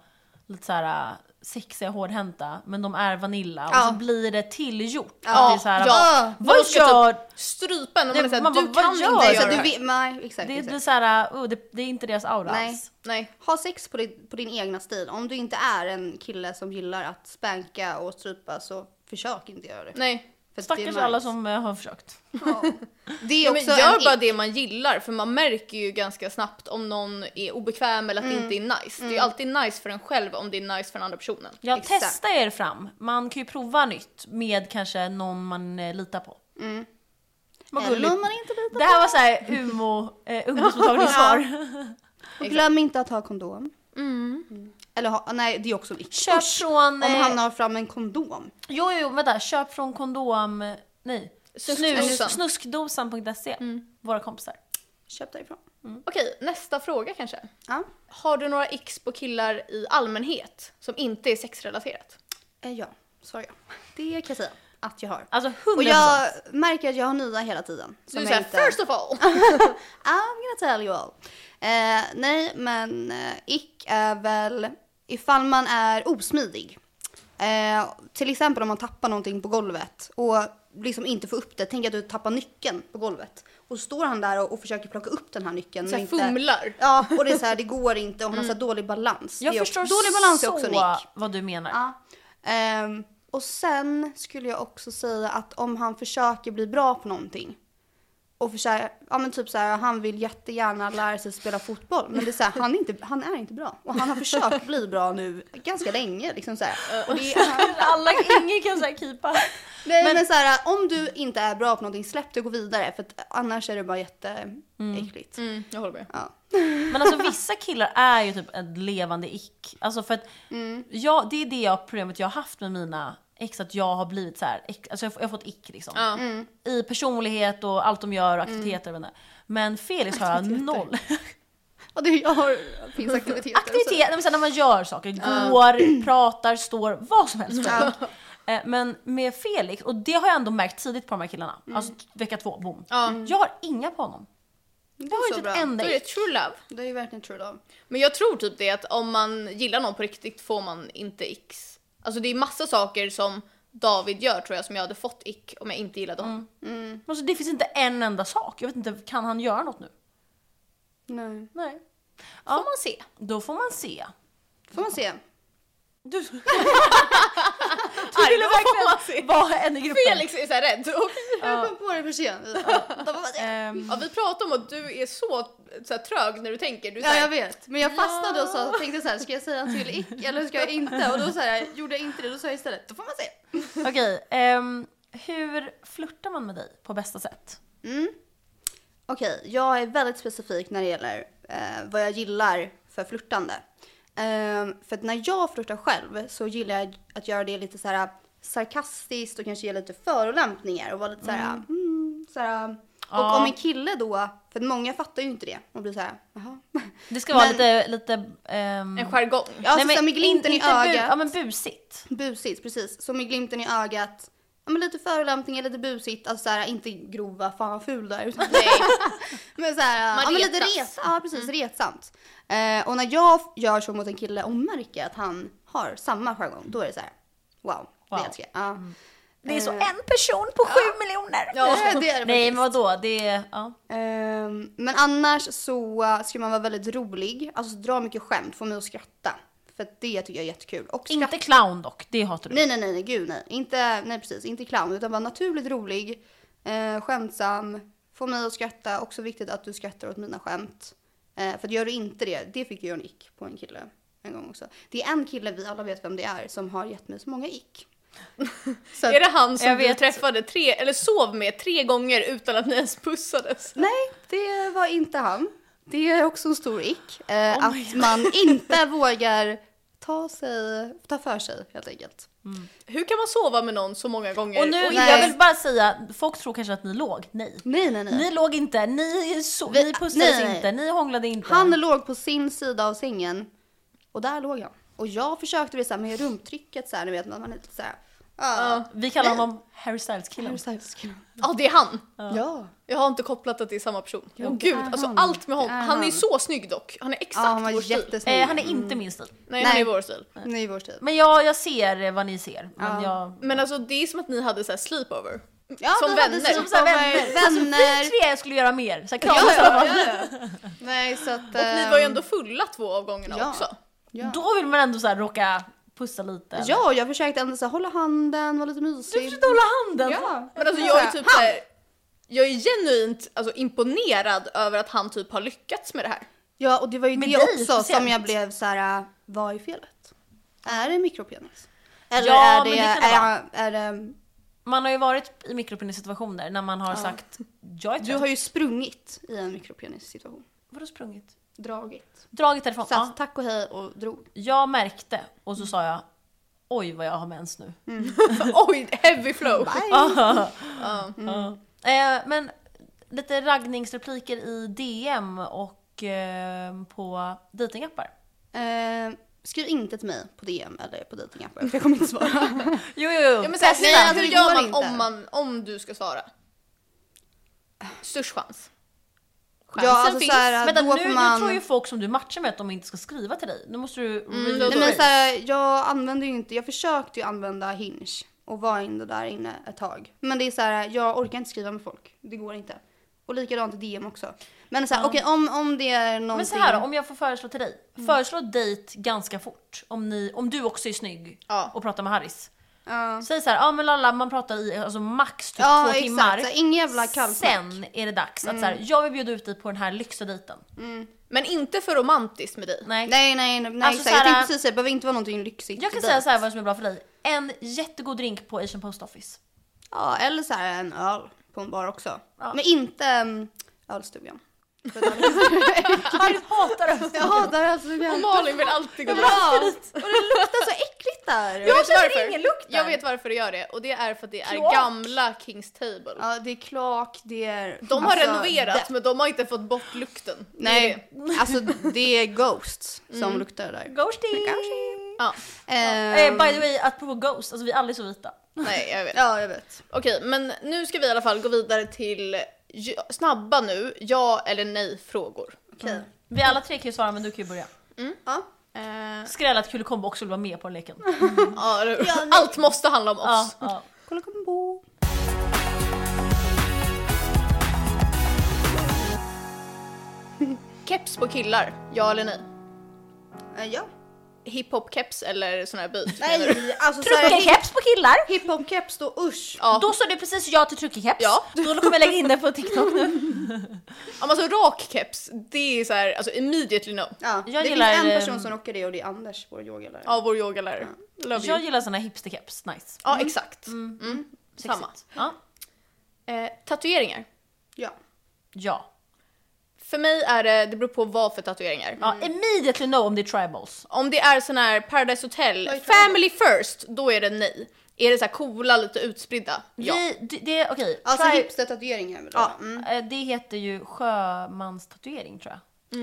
S2: lite så här sexiga och hårdhänta men de är vanilla och
S3: Ja.
S2: så blir det tillgjort.
S3: Ja, typ
S2: Att det är så här, "Ah,
S1: ja.
S2: vad, vad
S1: De ska
S2: gör...
S1: Strupa en och man
S2: Nej,
S1: är såhär,
S2: man
S1: du
S2: bara, vad
S1: kan
S2: gör
S1: inte
S2: du?
S3: Nej,
S1: göra
S3: så
S1: det
S3: att du,
S1: här.
S3: vet- nej, exakt.
S2: Det,
S3: exakt.
S2: blir så här, oh, det, det är inte deras aura
S3: Nej.
S2: alls.
S1: Nej.
S3: Ha sex på din, på din egna stil. Om du inte är en kille som gillar att spanka och strypa så försök inte göra det.
S1: Nej.
S3: För att
S2: Stackars
S3: det
S2: alla
S3: märks.
S2: som eh, har försökt.
S3: Ja. Det är
S1: Ja, men
S3: också
S1: gör bara
S3: en ick.
S1: det man gillar för man märker ju ganska snabbt om någon är obekväm eller att
S3: Mm.
S1: det inte är nice. Det är ju alltid nice för en själv om det är nice för den andra personen.
S2: Ja,
S3: Exakt.
S2: testa er fram. Man kan ju prova nytt med kanske någon man eh, litar på. Vad
S3: Eller
S2: gulligt.
S3: om man inte litar
S2: Det här var såhär umo, eh, ungdomsmottagningssvar.
S3: på. Och glöm inte att ha kondom. Mm. Eller ha, nej det är också en ick.
S2: Köp
S3: Usch,
S2: från...
S3: Om
S2: eh,
S3: han har fram en kondom.
S2: Jo, jo, vänta. Köp från kondom... Nej.
S1: Snusen.
S2: Snus, snuskdosan.se.
S3: Mm.
S2: Våra kompisar.
S3: Köp därifrån.
S1: Mm. Okej, nästa fråga kanske.
S3: Ja.
S1: Har du några x på killar i allmänhet som inte är sexrelaterat?
S3: Eh, Ja, svarar jag. Det kan jag säga att jag har.
S2: Alltså 100%.
S3: Och jag märker att jag har nya hela tiden.
S1: Så du
S3: som
S1: säger
S3: jag inte-
S1: first of all.
S3: I'm gonna tell you all. Eh, nej, men eh, ick är väl ifall man är osmidig. Eh, till exempel om man tappar någonting på golvet och liksom inte får upp det. Tänk att du tappar nyckeln på golvet. Och står han där och, och försöker plocka upp den här nyckeln.
S1: Så
S3: men
S1: här
S3: inte-
S1: fumlar.
S3: Ja, och det är så här, det går inte och han har så här dålig balans.
S2: Mm. Jag
S3: Det är också-
S2: förstår
S3: Dålig balans är
S2: så
S3: också en ick.
S2: vad du menar.
S3: Ja. Ehm, och sen skulle jag också säga att om han försöker bli bra på någonting och försöker, ja men typ så här, han vill jättegärna lära sig spela fotboll men det är så här, han, är inte, han är inte bra. Och han har försökt bli bra nu ganska länge liksom så här. Och det är,
S2: Alla, ingen kan såhär keepa.
S3: nej,
S2: Men-
S3: men, så här, om du inte är bra på någonting släpp det och gå vidare för att annars är det bara jätteäckligt.
S1: Mm, jag håller med.
S3: Ja.
S2: Men alltså vissa killar är ju typ ett levande ick. Alltså för att
S1: Mm.
S2: jag, det är det jag, problemet jag har haft med mina ex, att jag har blivit så här, ex, alltså jag, har- jag har fått ick liksom.
S1: Ja.
S3: Mm.
S2: I personlighet och allt de gör och aktiviteter. Mm. Men Felix har jag noll.
S1: Alltså-
S3: Och det jag har, finns aktiviteter.
S2: Aktivitet, nej, men så här när man gör saker, går, pratar, står, vad som helst. Eh, Men med Felix, och det har jag ändå märkt tidigt på de här killarna, alltså vecka två, boom.
S1: Mm. Ja.
S3: Mm.
S2: Jag har inga på honom.
S3: Det typ
S2: Jag har
S3: är
S2: inte
S3: så
S2: ett
S3: bra.
S1: Då
S2: enda
S1: är det
S2: ick.
S1: true love.
S3: Det är ju verkligen true love.
S1: Men jag tror typ det att om man gillar någon på riktigt får man inte x. Alltså det är massa saker som David gör tror jag som jag hade fått ick om jag inte gillade
S3: Mm.
S1: honom.
S2: Alltså, det finns inte en enda sak. Jag vet inte, kan han göra något nu?
S3: Nej.
S2: Nej.
S1: Får man se.
S2: Då får man se.
S3: Får man se.
S2: Du, du
S1: då får man se.
S2: verkligen vara en i gruppen.
S1: Felix liksom, är så här rädd. Och,
S3: Jag kom på det för sent. Ja. Då får man se.
S2: Ehm,
S1: ja, vi pratar om att du är så, så här, trög när du tänker. Du är så
S3: Ja
S1: här,
S3: jag vet, men jag fastnade och sa, tänkte så här, ska jag säga till ick eller ska jag inte? Och då så här, gjorde jag inte det, då sa jag istället, då får man se.
S2: Okej, ehm, hur flörtar man med dig på bästa sätt?
S3: Okej, jag är väldigt specifik när det gäller eh, vad jag gillar för flörtande. Ehm, för att när jag flörtar själv så gillar jag att göra det lite så här eh, sarkastiskt och kanske ge lite förolämpningar och vara lite så här, mm. så här och
S2: Ja.
S3: om en kille då, för att många fattar ju inte det, och blir så här, jaha.
S2: Det ska vara
S3: Men-
S2: lite... lite ehm,
S1: En jargong.
S3: Ja, så, så här, med glimten
S2: in-
S3: i
S2: inte bu-
S3: ögat.
S2: Ja men busigt.
S3: Busigt, precis. Som med glimten i ögat. Ja, men lite förolämpningar, lite busigt. Alltså såhär, inte grova, fan vad ful du är. utan-
S1: Nej.
S3: Men såhär,
S1: Man
S3: ja, men lite
S1: retas.
S3: ret, ja, precis, retsamt. Eh, och när jag gör så mot en kille och märker att han har samma jargong, då är det så här, wow,
S2: Wow.
S3: det älskar jag. Ja.
S4: Det är så
S2: Eh,
S4: en person på sju miljoner.
S3: Ja, det är det
S2: Nej men
S3: faktiskt.
S2: vadå, det är... Ja.
S3: Ehm, men annars så eh, ska man vara väldigt rolig, alltså dra mycket skämt, få mig att skratta. För att det tycker jag är jättekul. Och skratta.
S2: Inte clown dock, det hatar du.
S3: Nej, nej, nej, nej, gud nej. Inte, nej precis, inte clown, utan vara naturligt rolig, eh, skämtsam, få mig att skratta. Också viktigt att du skrattar åt mina skämt. Eh, för att gör du inte det, det fick jag en ick på en kille en gång också. Det är en kille, vi alla vet vem det är, som har gett mig så många ick. så att,
S1: Är det han som
S2: Jag
S1: vi
S2: vet.
S1: träffade tre, eller sov med tre gånger utan att ni ens pussades?
S3: Nej, det var inte han. Det är också en stor ick. Eh, att man inte vågar ta, sig, ta för sig helt enkelt.
S1: Hur kan man sova med någon så många gånger?
S2: Och nu,
S1: inte-
S3: nej.
S2: jag vill bara säga, folk tror kanske att ni låg. Nej.
S3: Nej, nej, nej.
S2: Ni låg inte, ni, so-
S3: Vi-
S2: ni pussades
S3: nej, nej.
S2: inte, ni hånglade inte.
S3: Han låg på sin sida av sängen och där låg jag. Och jag försökte väl så här med rumptrycket så här, ni vet när man är lite så här. ah. Ja.
S2: Vi kallar honom Harry Styles-killen.
S1: Ja, det är han.
S3: Ja.
S1: Jag har inte kopplat att det är samma person. Åh gud,
S3: är
S1: alltså
S3: han.
S1: allt med
S3: Det är
S1: honom. Han är
S3: han.
S1: så snygg dock. Han är
S3: Ja,
S1: exakt
S3: han var
S1: vår stil.
S3: jättesnygg.
S2: Eh, han är inte min stil.
S1: Nej, han är
S3: Nej.
S1: vår stil.
S3: Nej, vår stil.
S2: Men jag, jag ser eh, vad ni ser. Men
S3: Ja.
S2: jag...
S1: Men alltså det är som att ni hade så här sleepover.
S3: Ja,
S1: som
S3: vi hade
S1: vänner.
S2: Som så här vänner.
S3: Vänner.
S2: Alltså, vi tre skulle göra mer. Så här, kramas
S3: Ja,
S2: i alla
S3: ja,
S2: fall.
S3: ja, ja. Nej, så att... eh,
S1: Och ni var ju ändå fulla två av gångerna
S3: Ehm. ja.
S1: också.
S3: Ja.
S2: Då vill man ändå så här råka pussa lite. eller?
S3: Ja, jag försökte ändå så här, hålla handen, vara lite mysig.
S2: Du försökte hålla handen.
S3: Ja.
S1: Men alltså jag är typ så här, jag är genuint alltså, imponerad över att han typ har lyckats med det här.
S3: Ja, och det var ju
S2: Med
S3: det
S2: dig
S3: också som
S2: speciellt.
S3: jag blev så här, äh, vad är felet? Är det mikropenis? Eller
S2: Ja,
S3: är det,
S2: men det kan det
S3: är,
S2: vara.
S3: jag- är det,
S2: Man har ju varit i mikropenissituationer när man har sagt jag är
S3: du
S2: trött.
S3: har ju sprungit i en mikropenis situation.
S2: Vadå sprungit?
S3: Dragit.
S2: Dragit därifrån?
S3: Satt
S2: Ja.
S3: tack och hej och drog.
S2: Jag märkte och så sa jag oj vad jag har mens nu.
S3: Mm.
S1: Oj, heavy flow. Ja.
S3: Mm.
S2: Eh, men lite raggningsrepliker i DM och eh, på dejtingappar.
S3: Eh, skriv inte till mig på DM eller på dejtingappar för jag kommer inte svara.
S2: Jo, jo, jo.
S1: Ja, men så här,
S3: Testa.
S1: nej, alltså,
S3: Det
S1: hur
S3: går
S1: gör man
S3: inte.
S1: om, man om du ska svara? Störst chans. Chansen
S3: Ja, alltså,
S1: finns.
S3: så här,
S2: Vänta,
S3: då
S2: nu,
S3: får
S2: nu
S3: man-
S2: tror ju folk som du matchar med att de inte ska skriva till dig. Nu måste du...
S1: Mm,
S2: re-
S1: då-
S3: Nej, men så här, jag använder ju inte, jag försökte ju använda Hinge och var ändå där inne ett tag. Men det är så här, jag orkar inte skriva med folk. Det går inte. Och likadant i DM också. Men så här, okej om, om det är någonting. Mm.
S2: Men så här, om jag får föreslå till dig. Föreslå dejt ganska fort. Om, ni, om du också är snygg
S1: Ja.
S2: och pratar med Harris.
S3: Ja.
S2: Säg så här, ja men Lalla man pratar i alltså, max typ
S3: Ja,
S2: två
S3: exakt.
S2: timmar.
S3: Så här, ingen jävla kallsnack. Mm.
S2: Sen är det dags att så här, jag vill bjuda ut dig på den här lyxodejten.
S1: Men inte för romantiskt med dig.
S2: Nej.
S3: Nej, nej, nej. nej
S2: Alltså,
S3: exakt. jag
S2: så här-
S3: tänkte precis säga, det behöver inte vara någonting lyxigt.
S2: Jag kan
S3: för
S2: säga
S3: dig.
S2: så här vad som är bra för dig. En jättegod drink på Asian Post Office.
S3: Ja, eller så här en öl på en bar också.
S2: Ja.
S3: Men inte um, ölstugan. För det hade-
S2: Harry hatar det.
S3: jag hatar ölstugan.
S1: Och Malin vill alltid gå dit.
S3: Ja, och det luktar så äckligt där.
S1: Jag vet
S2: känner
S1: varför.
S2: ingen lukt där.
S1: Jag vet varför det gör det och det är för att det är
S2: Kloak.
S1: gamla Kings Table.
S3: Ja, det är klak, det är...
S1: De har
S3: Alltså,
S1: renoverat
S3: det-
S1: men de har inte fått bort lukten. Det är det.
S3: Nej, alltså det är ghosts som luktar där.
S2: Ghosty!
S1: Ja,
S2: Eh,
S3: Ehm,
S2: by the way, apropå ghost, alltså vi är aldrig så vita.
S1: nej jag vet.
S3: ja, jag vet.
S1: Okej men nu ska vi i alla fall gå vidare till ju- snabba nu, ja eller nej frågor.
S3: Okej.
S2: Vi alla tre kan ju svara men du kan ju börja.
S3: Ja.
S1: Eh,
S2: Skräll att Kulekombo också vill vara med på den leken.
S1: ja, eller hur? Allt måste handla om
S2: Ja,
S1: oss.
S2: ja.
S3: Kolla kombo.
S1: Keps på killar, ja eller nej?
S3: Eh, Ja.
S1: Hiphop-keps eller sån här byt? menar du?
S3: Nej, alltså
S2: Truckerkeps på killar!
S3: hiphop-keps då, usch.
S1: Ja.
S2: Då sa du precis ja till truckerkeps.
S1: Ja.
S2: Då kommer jag lägga in det på TikTok nu.
S1: Ja, men alltså rak keps, det är så här, alltså immediately no.
S3: Ja,
S2: Jag
S3: det
S2: gillar,
S3: finns en
S2: ehm,
S3: person som rockar det och det är Anders, vår yogalärare.
S1: Av vår yogalärare. Love
S2: Jag
S1: you.
S2: gillar såna hipsterkeps, nice.
S1: Ja exakt. Mm. Samma.
S2: Sexigt. Ja.
S1: Eh, tatueringar.
S3: Ja.
S2: Ja.
S1: För mig är det, det beror på vad för tatueringar.
S2: ja. Immediately know om det är tribals.
S1: Om det är sån här Paradise Hotel,
S3: Vad är det?
S1: family first, då är det nej. Är det så här coola, lite utspridda? Ja.
S2: Vi, det, det, okej.
S3: Alltså
S2: tri-
S3: hipster-tatueringar vill du ha? Mm.
S2: eh, det heter ju sjömanstatuering tror jag.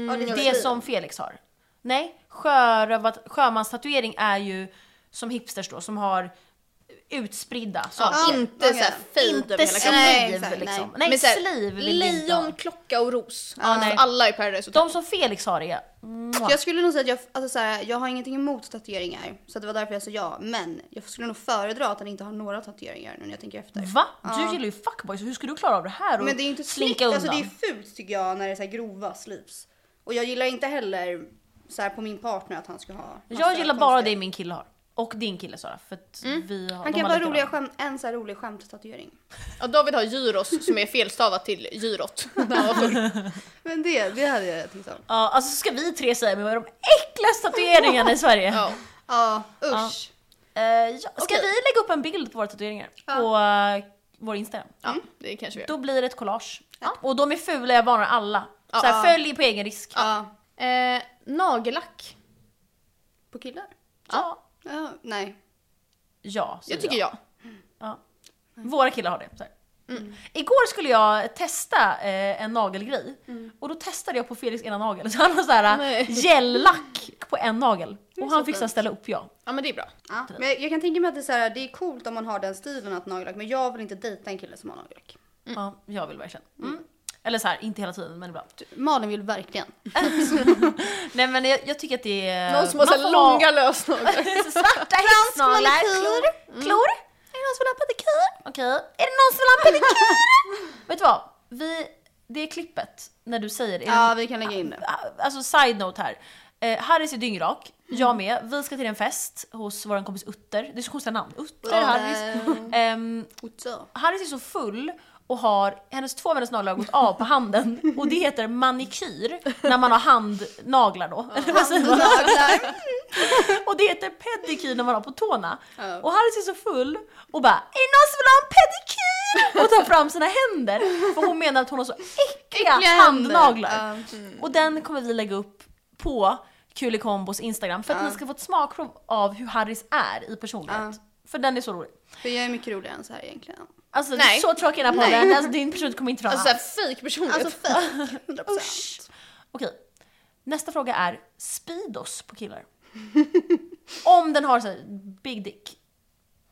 S3: Ja, det,
S2: Mm, Det som Felix har. Nej, sjörövat, sjömanstatuering är ju som hipsters då, som har utspridda saker.
S1: Ja, inte
S3: okej.
S1: såhär fade
S2: Inte
S1: över hela
S2: sliv
S1: kroppen.
S3: Nej, exakt,
S2: liksom.
S3: nej.
S2: Nej,
S1: Men så här,
S2: sliv vill vi inte ha.
S1: Lejon, klocka och ros.
S2: Ja, nej.
S1: För alla i Paradise Hotel.
S2: De som Felix har är...
S3: Jag skulle nog säga att jag, alltså så här, jag har ingenting emot tatueringar. Så det var därför jag sa ja. Men jag skulle nog föredra att han inte har några tatueringar nu när jag tänker efter.
S2: Va? Du gillar ju fuckboys, hur ska du klara av det här och
S3: Men det är inte snyggt.
S2: slinka undan?
S3: Alltså det är fult tycker jag när det är så här grova sleeves. Och jag gillar inte heller så här på min partner att han ska ha. massa
S2: jag gillar bara
S3: konstiga- Mm.
S2: det min kille har. Och din kille Sara, för att vi har...
S3: Han
S2: de har
S3: kan bara
S2: likadana.
S3: roliga skämt, en så här rolig skämt-tatuering.
S1: Ja, David har gyros som är felstavat till gyrot. När han var full.
S3: Men det, det hade jag tänkt om.
S2: Ja, alltså ska vi tre säga men vad är de äckligaste tatueringarna i Sverige?
S1: Ja.
S3: Ja, usch.
S2: Eh, ja, ska
S1: Okej.
S2: vi lägga upp en bild på våra tatueringar på eh, vår Instagram?
S1: ja, det kanske vi gör.
S2: Då blir det ett collage. Och de är fula, jag varnar alla. Så här, följ på egen risk.
S3: Ja.
S1: Eh, nagellack.
S3: På killar?
S2: Ja.
S3: Ja, nej.
S2: Ja, säger
S1: Jag tycker jag.
S2: Ja. Våra killar har det. Så här.
S1: Mm.
S2: Igår skulle jag testa eh, en nagelgrej och då testade jag på Felix ena nagel. Så han har så här
S1: Mm. Nej.
S2: gellack på en nagel och han
S3: så
S2: fick så här
S3: fint.
S2: ställa upp jag.
S1: Ja men det är bra.
S3: Ja. Men jag, jag kan tänka mig att det är, så här, det är coolt om man har den stilen att nagellack. Men jag vill inte dejta en kille som har nagellack.
S2: Ja, jag vill verkligen. Mm. Eller så här, inte hela tiden men ibland.
S3: Malin vill verkligen.
S2: Nej men jag, jag tycker att det är...
S1: Någon som har
S2: Eh, man
S1: såhär
S2: får ha-
S1: långa lösnaglar.
S2: Svarta hästnaglar, klor, klor. Är det någon som vill ha pedikyr? Okej. Är det någon som vill ha pedikyr? Vet du vad? Vi, det är klippet när du säger det.
S3: Ja, vi kan lägga in det.
S2: Alltså side note här. Eh, Harris är dyngrak, jag med. Vi ska till en fest hos vår kompis Utter. Det är så konstiga namn. Utter, Harris. Ehm,
S3: Otto.
S2: Harris är så full och har, hennes två av hennes naglar har gått av på handen och det heter manikyr när man har handnaglar då. Eller vad säger man?
S3: Naglar.
S2: Och det heter pedikyr när man har på tårna. Och Harris är så full och bara “Är det någon som vill ha en pedikyr?” och tar fram sina händer. För hon menar att hon har så äckliga,
S3: Äckliga händer.
S2: handnaglar.
S1: mm.
S2: Och den kommer vi lägga upp på Kulikombos Instagram för att ni ska få ett smakprov av hur Harris är i personlighet. För den är så rolig.
S3: För jag är mycket roligare än så här egentligen.
S2: Alltså det är
S1: Nej.
S2: så tråkigt i den här podden, alltså, din person kommer inte fram
S1: Alltså såhär fake personlighet.
S3: Alltså fejk. 100%.
S2: Usch. Okej. Nästa fråga är Speedos på killar. Om den har så här big dick.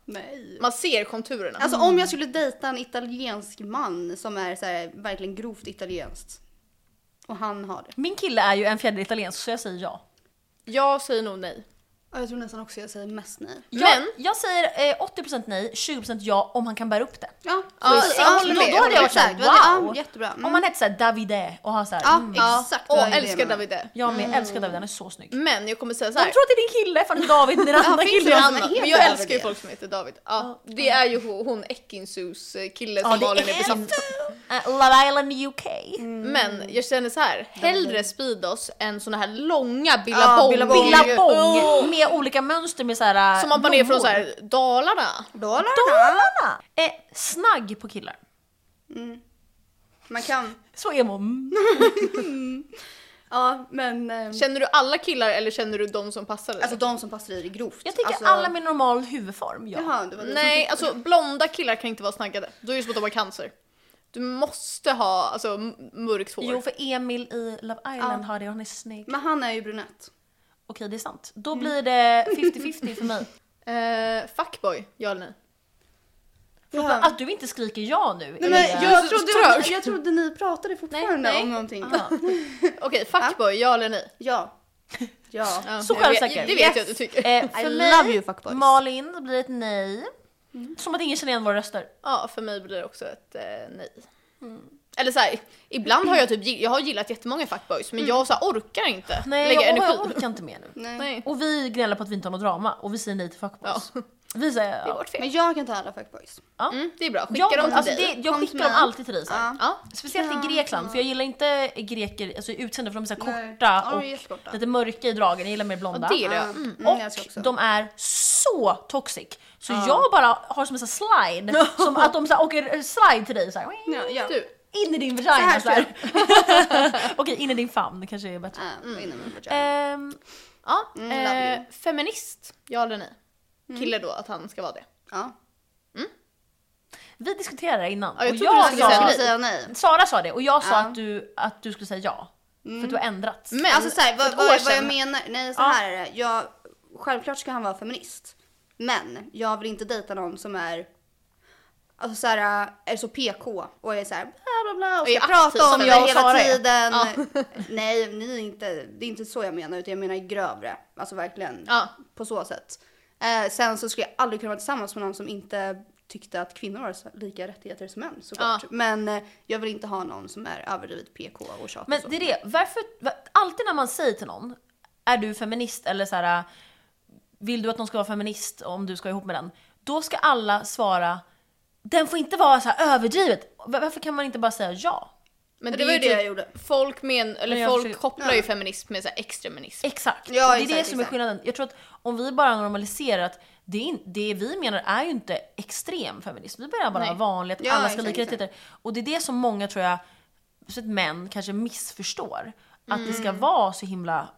S3: Nej.
S1: man ser konturerna.
S3: Alltså om jag skulle dejta en italiensk man som är så här, verkligen grovt italienskt. Och han har det.
S2: Min kille är ju en fjärdedel italiensk så jag säger ja.
S1: jag säger nog nej.
S3: Ja, Jag tror nästan också jag säger mest nej.
S2: Jag,
S1: Men-
S2: jag säger eh, 80% nej, 20% ja om han kan bära upp det.
S3: Ja,
S1: Ja,
S3: precis.
S1: jag håller med.
S3: Då,
S1: Jag
S3: då hade jag
S2: håller
S3: varit såhär,
S2: med.
S3: wow.
S2: Wow.
S3: Ja, jättebra. Mm.
S2: Om han hette såhär Davide och har såhär...
S3: ja,
S2: mm,
S3: exakt. vad
S1: Och
S3: jag
S1: älskar
S3: menar.
S1: Davide.
S2: jag med, älskar Davide, han är så snygg.
S1: Men jag kommer säga
S2: De
S1: såhär.
S2: tror att det är din kille för att David är den andra
S1: Mm.
S3: finns
S1: Det
S2: killen.
S1: är
S3: någon
S1: Anna.
S3: som heter
S1: Men jag
S3: David.
S1: älskar ju folk som heter David. Ja, det är ju hon- hon Ekinsus eh, kille som
S2: Ja, det
S1: Malin är
S2: är Mm.
S1: besatt av.
S2: Eh, Love Island UK.
S1: Mm. Men jag känner så här, hellre Speedos än såna här långa
S3: Ja,
S1: billabong.
S3: billabong.
S2: Billabong
S1: Åh!
S2: med olika mönster med såhär... eh,
S1: Som att man är från
S2: blommor.
S1: så här Dalarna.
S3: Dollarna.
S2: Dalarna! Eh, snagg på killar.
S3: Man kan,
S2: Så emo.
S3: ja men. ehm,
S1: Känner du alla killar eller känner du de som passar dig?
S3: Alltså de som passar i det grovt.
S2: Jag tänker
S3: alltså,
S2: alla med normal huvudform, ja.
S3: Jaha, det var det.
S1: Nej, alltså blonda killar kan inte vara snaggade. Då är det som att de har cancer. Du måste ha alltså, m- mörkt hår.
S2: Jo, för Emil i Love Island har det och han är snygg.
S3: Men Mm. han är ju brunett.
S2: Okej, det är sant. Då blir det 50-50 för mig.
S1: Eh, fuckboy, ja eller nej?
S3: Ja.
S2: Att du inte skriker ja nu.
S3: Nej,
S2: är-
S3: men jag,
S1: så
S3: trodde,
S1: trög.
S3: jag trodde ni pratade fortfarande
S1: Nej, nej.
S3: om någonting.
S2: Ja.
S1: Okej, fuckboy, ja eller nej?
S3: Ja. Ja.
S1: Ja,
S2: Så
S1: jag vet-
S2: självsäker.
S1: Det vet jag att du tycker.
S2: Eh,
S3: I
S2: för
S3: love
S2: mig,
S3: you Mm. fuckboys.
S2: Malin, det blir ett nej. Som att ingen känner igen våra röster.
S1: Ja, för mig blir det också ett eh, nej.
S3: Mm.
S1: Eller såhär, ibland har jag typ, gill- jag har gillat jättemånga fuckboys
S3: Mm.
S1: men jag så här, orkar inte
S2: Nej,
S1: lägga
S2: jag,
S1: energi.
S2: jag orkar inte mer nu.
S3: Nej.
S1: Nej.
S2: Och vi gnäller på att vi inte har något drama och vi säger nej till fuckboys.
S1: Ja.
S2: Vi säger
S1: Det är
S2: ja.
S1: vårt fel.
S3: Men jag kan ta alla fuckboys.
S1: Mm, det är bra, skicka
S2: Jag,
S1: dem till
S2: alltså,
S1: dig.
S2: det, jag
S3: Kom till
S2: skickar dem
S3: mig.
S2: alltid till dig. Så här.
S3: Ja.
S1: Ja.
S2: Speciellt i Grekland, för jag gillar inte greker alltså, i utseende för de är så här
S3: Nej.
S2: korta
S3: Ja, de är jättekorta.
S2: och lite mörka i dragen. Jag gillar mer blonda.
S1: Ja, det är det.
S3: Mm, mm, jag ska också.
S2: Och de är så toxic. Så jag bara har som en sån här slide, som att de så här åker slide till dig så här.
S3: Ja, ja.
S1: Du,
S2: In i din vagina
S3: här
S2: så här. Okej, in i din famn kanske är bättre.
S3: Ja, vad innan man får köra.
S2: Ehm,
S1: ja.
S3: Mm, love Mm.
S1: eh, feminist, ja eller nej? Kille då, att han ska vara det.
S3: Ja.
S2: vi diskuterade det här innan.
S1: Ja, jag
S2: och
S1: trodde du
S2: jag
S1: skulle
S3: Jag
S1: säga
S3: skulle
S1: nej.
S2: sa,
S3: säga nej.
S2: Sara sa det och jag sa
S3: Ja.
S2: att, du, att du skulle säga ja. För att du har ändrats.
S1: Men
S3: alltså såhär,
S1: för
S3: vad,
S1: ett år
S3: vad, vad jag
S1: sedan-
S3: menar, nej så
S2: Ja.
S3: här är det. Jag, självklart ska han vara feminist. Men jag vill inte dejta någon som är Alltså så här, är så PK och är så här bla bla bla och
S1: Är
S3: ska
S1: aktiv
S3: prata om
S1: som
S3: jag
S1: vi
S3: hela
S1: Sara är.
S3: tiden.
S1: Ja.
S3: Nej, ni är inte, det är inte så jag menar utan jag menar grövre. Alltså verkligen
S1: Ja.
S3: på så sätt. Eh, sen så skulle jag aldrig kunna vara tillsammans med någon som inte tyckte att kvinnor har så- lika rättigheter som män såklart.
S1: Ja.
S3: Men eh, jag vill inte ha någon som är överdrivet PK och tjat
S2: Men
S3: och så.
S2: det är det, varför, va- alltid när man säger till någon, är du feminist eller så här, vill du att någon ska vara feminist om du ska ihop med den? Då ska alla svara, den får inte vara så här överdrivet. Var- Varför kan man inte bara säga ja?
S1: Men
S3: det
S1: är
S3: var ju det
S1: typ-
S3: jag gjorde.
S1: Folk, men, eller
S2: Men jag
S1: folk
S2: försöker-
S1: kopplar ju feminism med så här extremism.
S2: Exakt,
S3: Ja,
S2: Och det är
S3: exakt,
S2: det som är
S3: exakt.
S2: skillnaden. Jag tror att om vi bara normaliserar att det, är in, det vi menar är ju inte extrem feminism, vi menar bara
S1: Nej.
S2: vanligt,
S3: Ja,
S2: alla ska ha
S3: exakt,
S2: lika
S3: exakt.
S2: rättigheter. Och det är det som många tror jag, så att män kanske missförstår. Att det ska
S3: Mm.
S2: vara så himla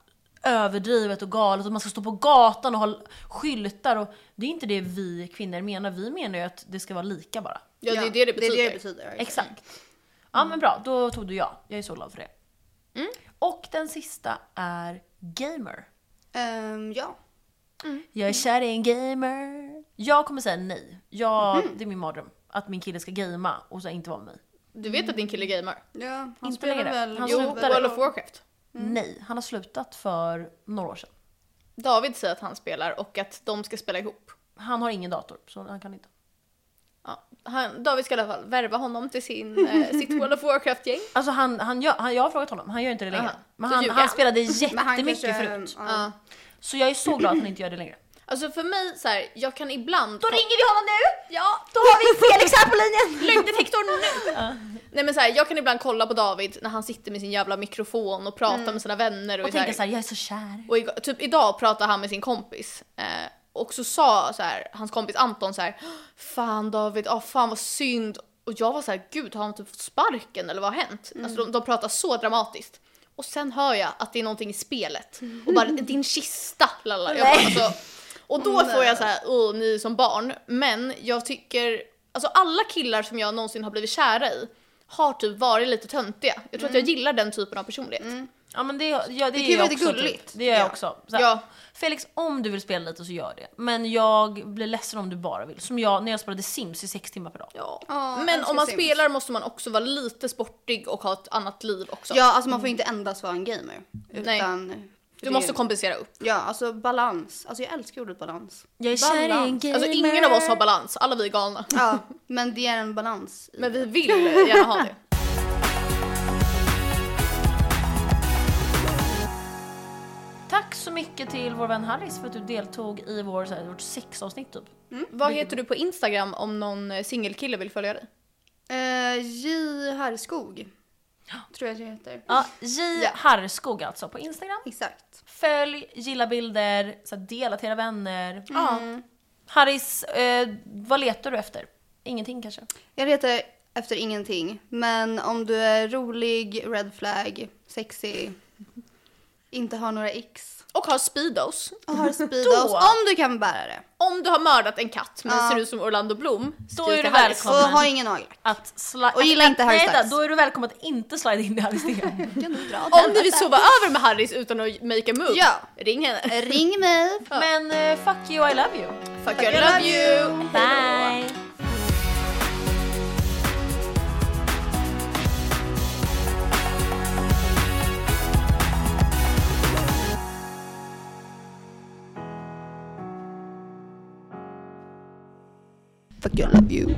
S2: överdrivet och galet och man ska stå på gatan och ha l- skyltar och det är inte det vi kvinnor menar, vi menar ju att det ska vara lika bara.
S1: Ja, det är det det betyder.
S3: Det är det det betyder.
S2: Exakt. Ja
S3: Mm.
S2: men bra, då tog du ja. Jag är så glad för det. Och den sista är gamer.
S3: Ehm, ja.
S2: Jag är kär i en gamer. Jag kommer säga nej. Jag,
S3: Mhm.
S2: Det är min mardröm. Att min kille ska gamea och så inte vara med mig.
S1: Du vet att din kille gamer?
S3: ja, Mm. han
S2: Inte
S3: spelar
S2: längre.
S3: väl...
S2: Han
S3: jo,
S2: slutade.
S3: väl-
S1: World of Warcraft.
S3: Mm.
S2: Nej, han har slutat för några år sedan.
S1: David säger att han spelar och att de ska spela ihop.
S2: Han har ingen dator, så han kan inte.
S1: Ja. Han, David ska i alla fall värva honom till sin, eh, sitt World of Warcraft-gäng.
S2: Alltså han, han gör, han, jag har frågat honom, han gör inte det längre.
S1: Aha.
S2: Men
S1: Så
S2: han,
S1: ljuger
S2: han
S1: han.
S2: spelade
S3: Men han
S2: jättemycket
S3: kanske-
S2: förut.
S3: ja.
S1: Ja.
S2: Så jag är så glad att han inte gör det längre.
S1: Alltså för mig så här, jag kan ibland...
S4: Då ringer vi honom nu! Ja, då har vi Felix här på linjen!
S1: Lögndetektorn nu! Nej men så här, jag kan ibland kolla på David när han sitter med sin jävla mikrofon och pratar
S4: Mm.
S1: med sina vänner och,
S2: Och
S1: är
S2: tänka såhär, jag är så kär.
S1: Och igår, typ idag pratade han med sin kompis eh, och så sa så här, hans kompis Anton så här, Fan David, ah, fan vad synd. Och jag var så här, gud har han typ fått sparken eller vad har hänt? Alltså de, de pratar så dramatiskt. Och sen hör jag att det är någonting i spelet och bara din kista lalla. Jag bara, alltså, och då får jag så här, åh ni är som barn. Men jag tycker, alltså alla killar som jag någonsin har blivit kära i har typ varit lite töntiga. Jag tror att jag gillar den typen av personlighet.
S2: Ja men det, ja, det, gör
S3: kan ju
S2: jag
S3: vara
S2: också.
S3: lite gulligt.
S2: Typ. Det gör jag
S3: Ja.
S2: också. Så här,
S1: Ja.
S2: Felix, om du vill spela lite så gör det. Men jag blir ledsen om du bara vill. Som jag när jag spelade Sims i sex timmar per dag.
S1: Ja.
S3: Ja,
S1: men
S3: älskar
S1: om man
S3: Sims.
S1: spelar måste man också vara lite sportig och ha ett annat liv också.
S3: Ja, alltså man får inte endast vara en gamer.
S1: Nej.
S3: Utan för
S1: du
S3: det-
S1: måste kompensera upp.
S3: Ja, alltså balans. Alltså jag älskar ordet balans.
S2: Jag är kär i en
S3: Balans.
S2: gamer.
S1: Alltså ingen av oss har balans, alla vi är galna.
S3: Ja, men det är en balans. i-
S1: Men vi vill gärna ha det.
S2: Tack så mycket till vår vän Harris för att du deltog i vår, så här, vårt sexavsnitt typ.
S1: Mm. Vad heter du på Instagram om någon eh, singelkille vill följa dig?
S3: Eh, J Harrskog. Tror jag det heter.
S2: Ja, J Harrskog alltså på Instagram.
S3: Exakt.
S2: Följ, gilla bilder, så här, dela till era vänner.
S1: Ja.
S2: Harris, eh, vad letar du efter? Ingenting kanske?
S3: Jag letar efter ingenting. Men om du är rolig, red flag, sexy, inte har några x
S1: Och ha speedos.
S3: och har speedos. om du kan bära det.
S1: Om du har mördat en katt men
S3: Ja.
S1: ser ut som Orlando Bloom,
S2: Då
S1: skriv
S2: är
S1: till
S2: du
S1: Harris.
S3: Och
S2: välkommen.
S3: har ingen nagellack.
S2: Att sla-
S3: Och gilla inte Harry
S2: Nej, vänta,
S3: Styles.
S2: Då är du välkommen att inte slida in i Harrys DM.
S3: Kan du dra
S1: Om ni vill sova över med Harris utan att make a move,
S3: Ja.
S1: ring henne.
S3: den? Ring mig.
S2: Men eh, fuck you, I love you.
S1: Fuck you, I love you!
S2: Bye!
S3: Fuck you, I love you.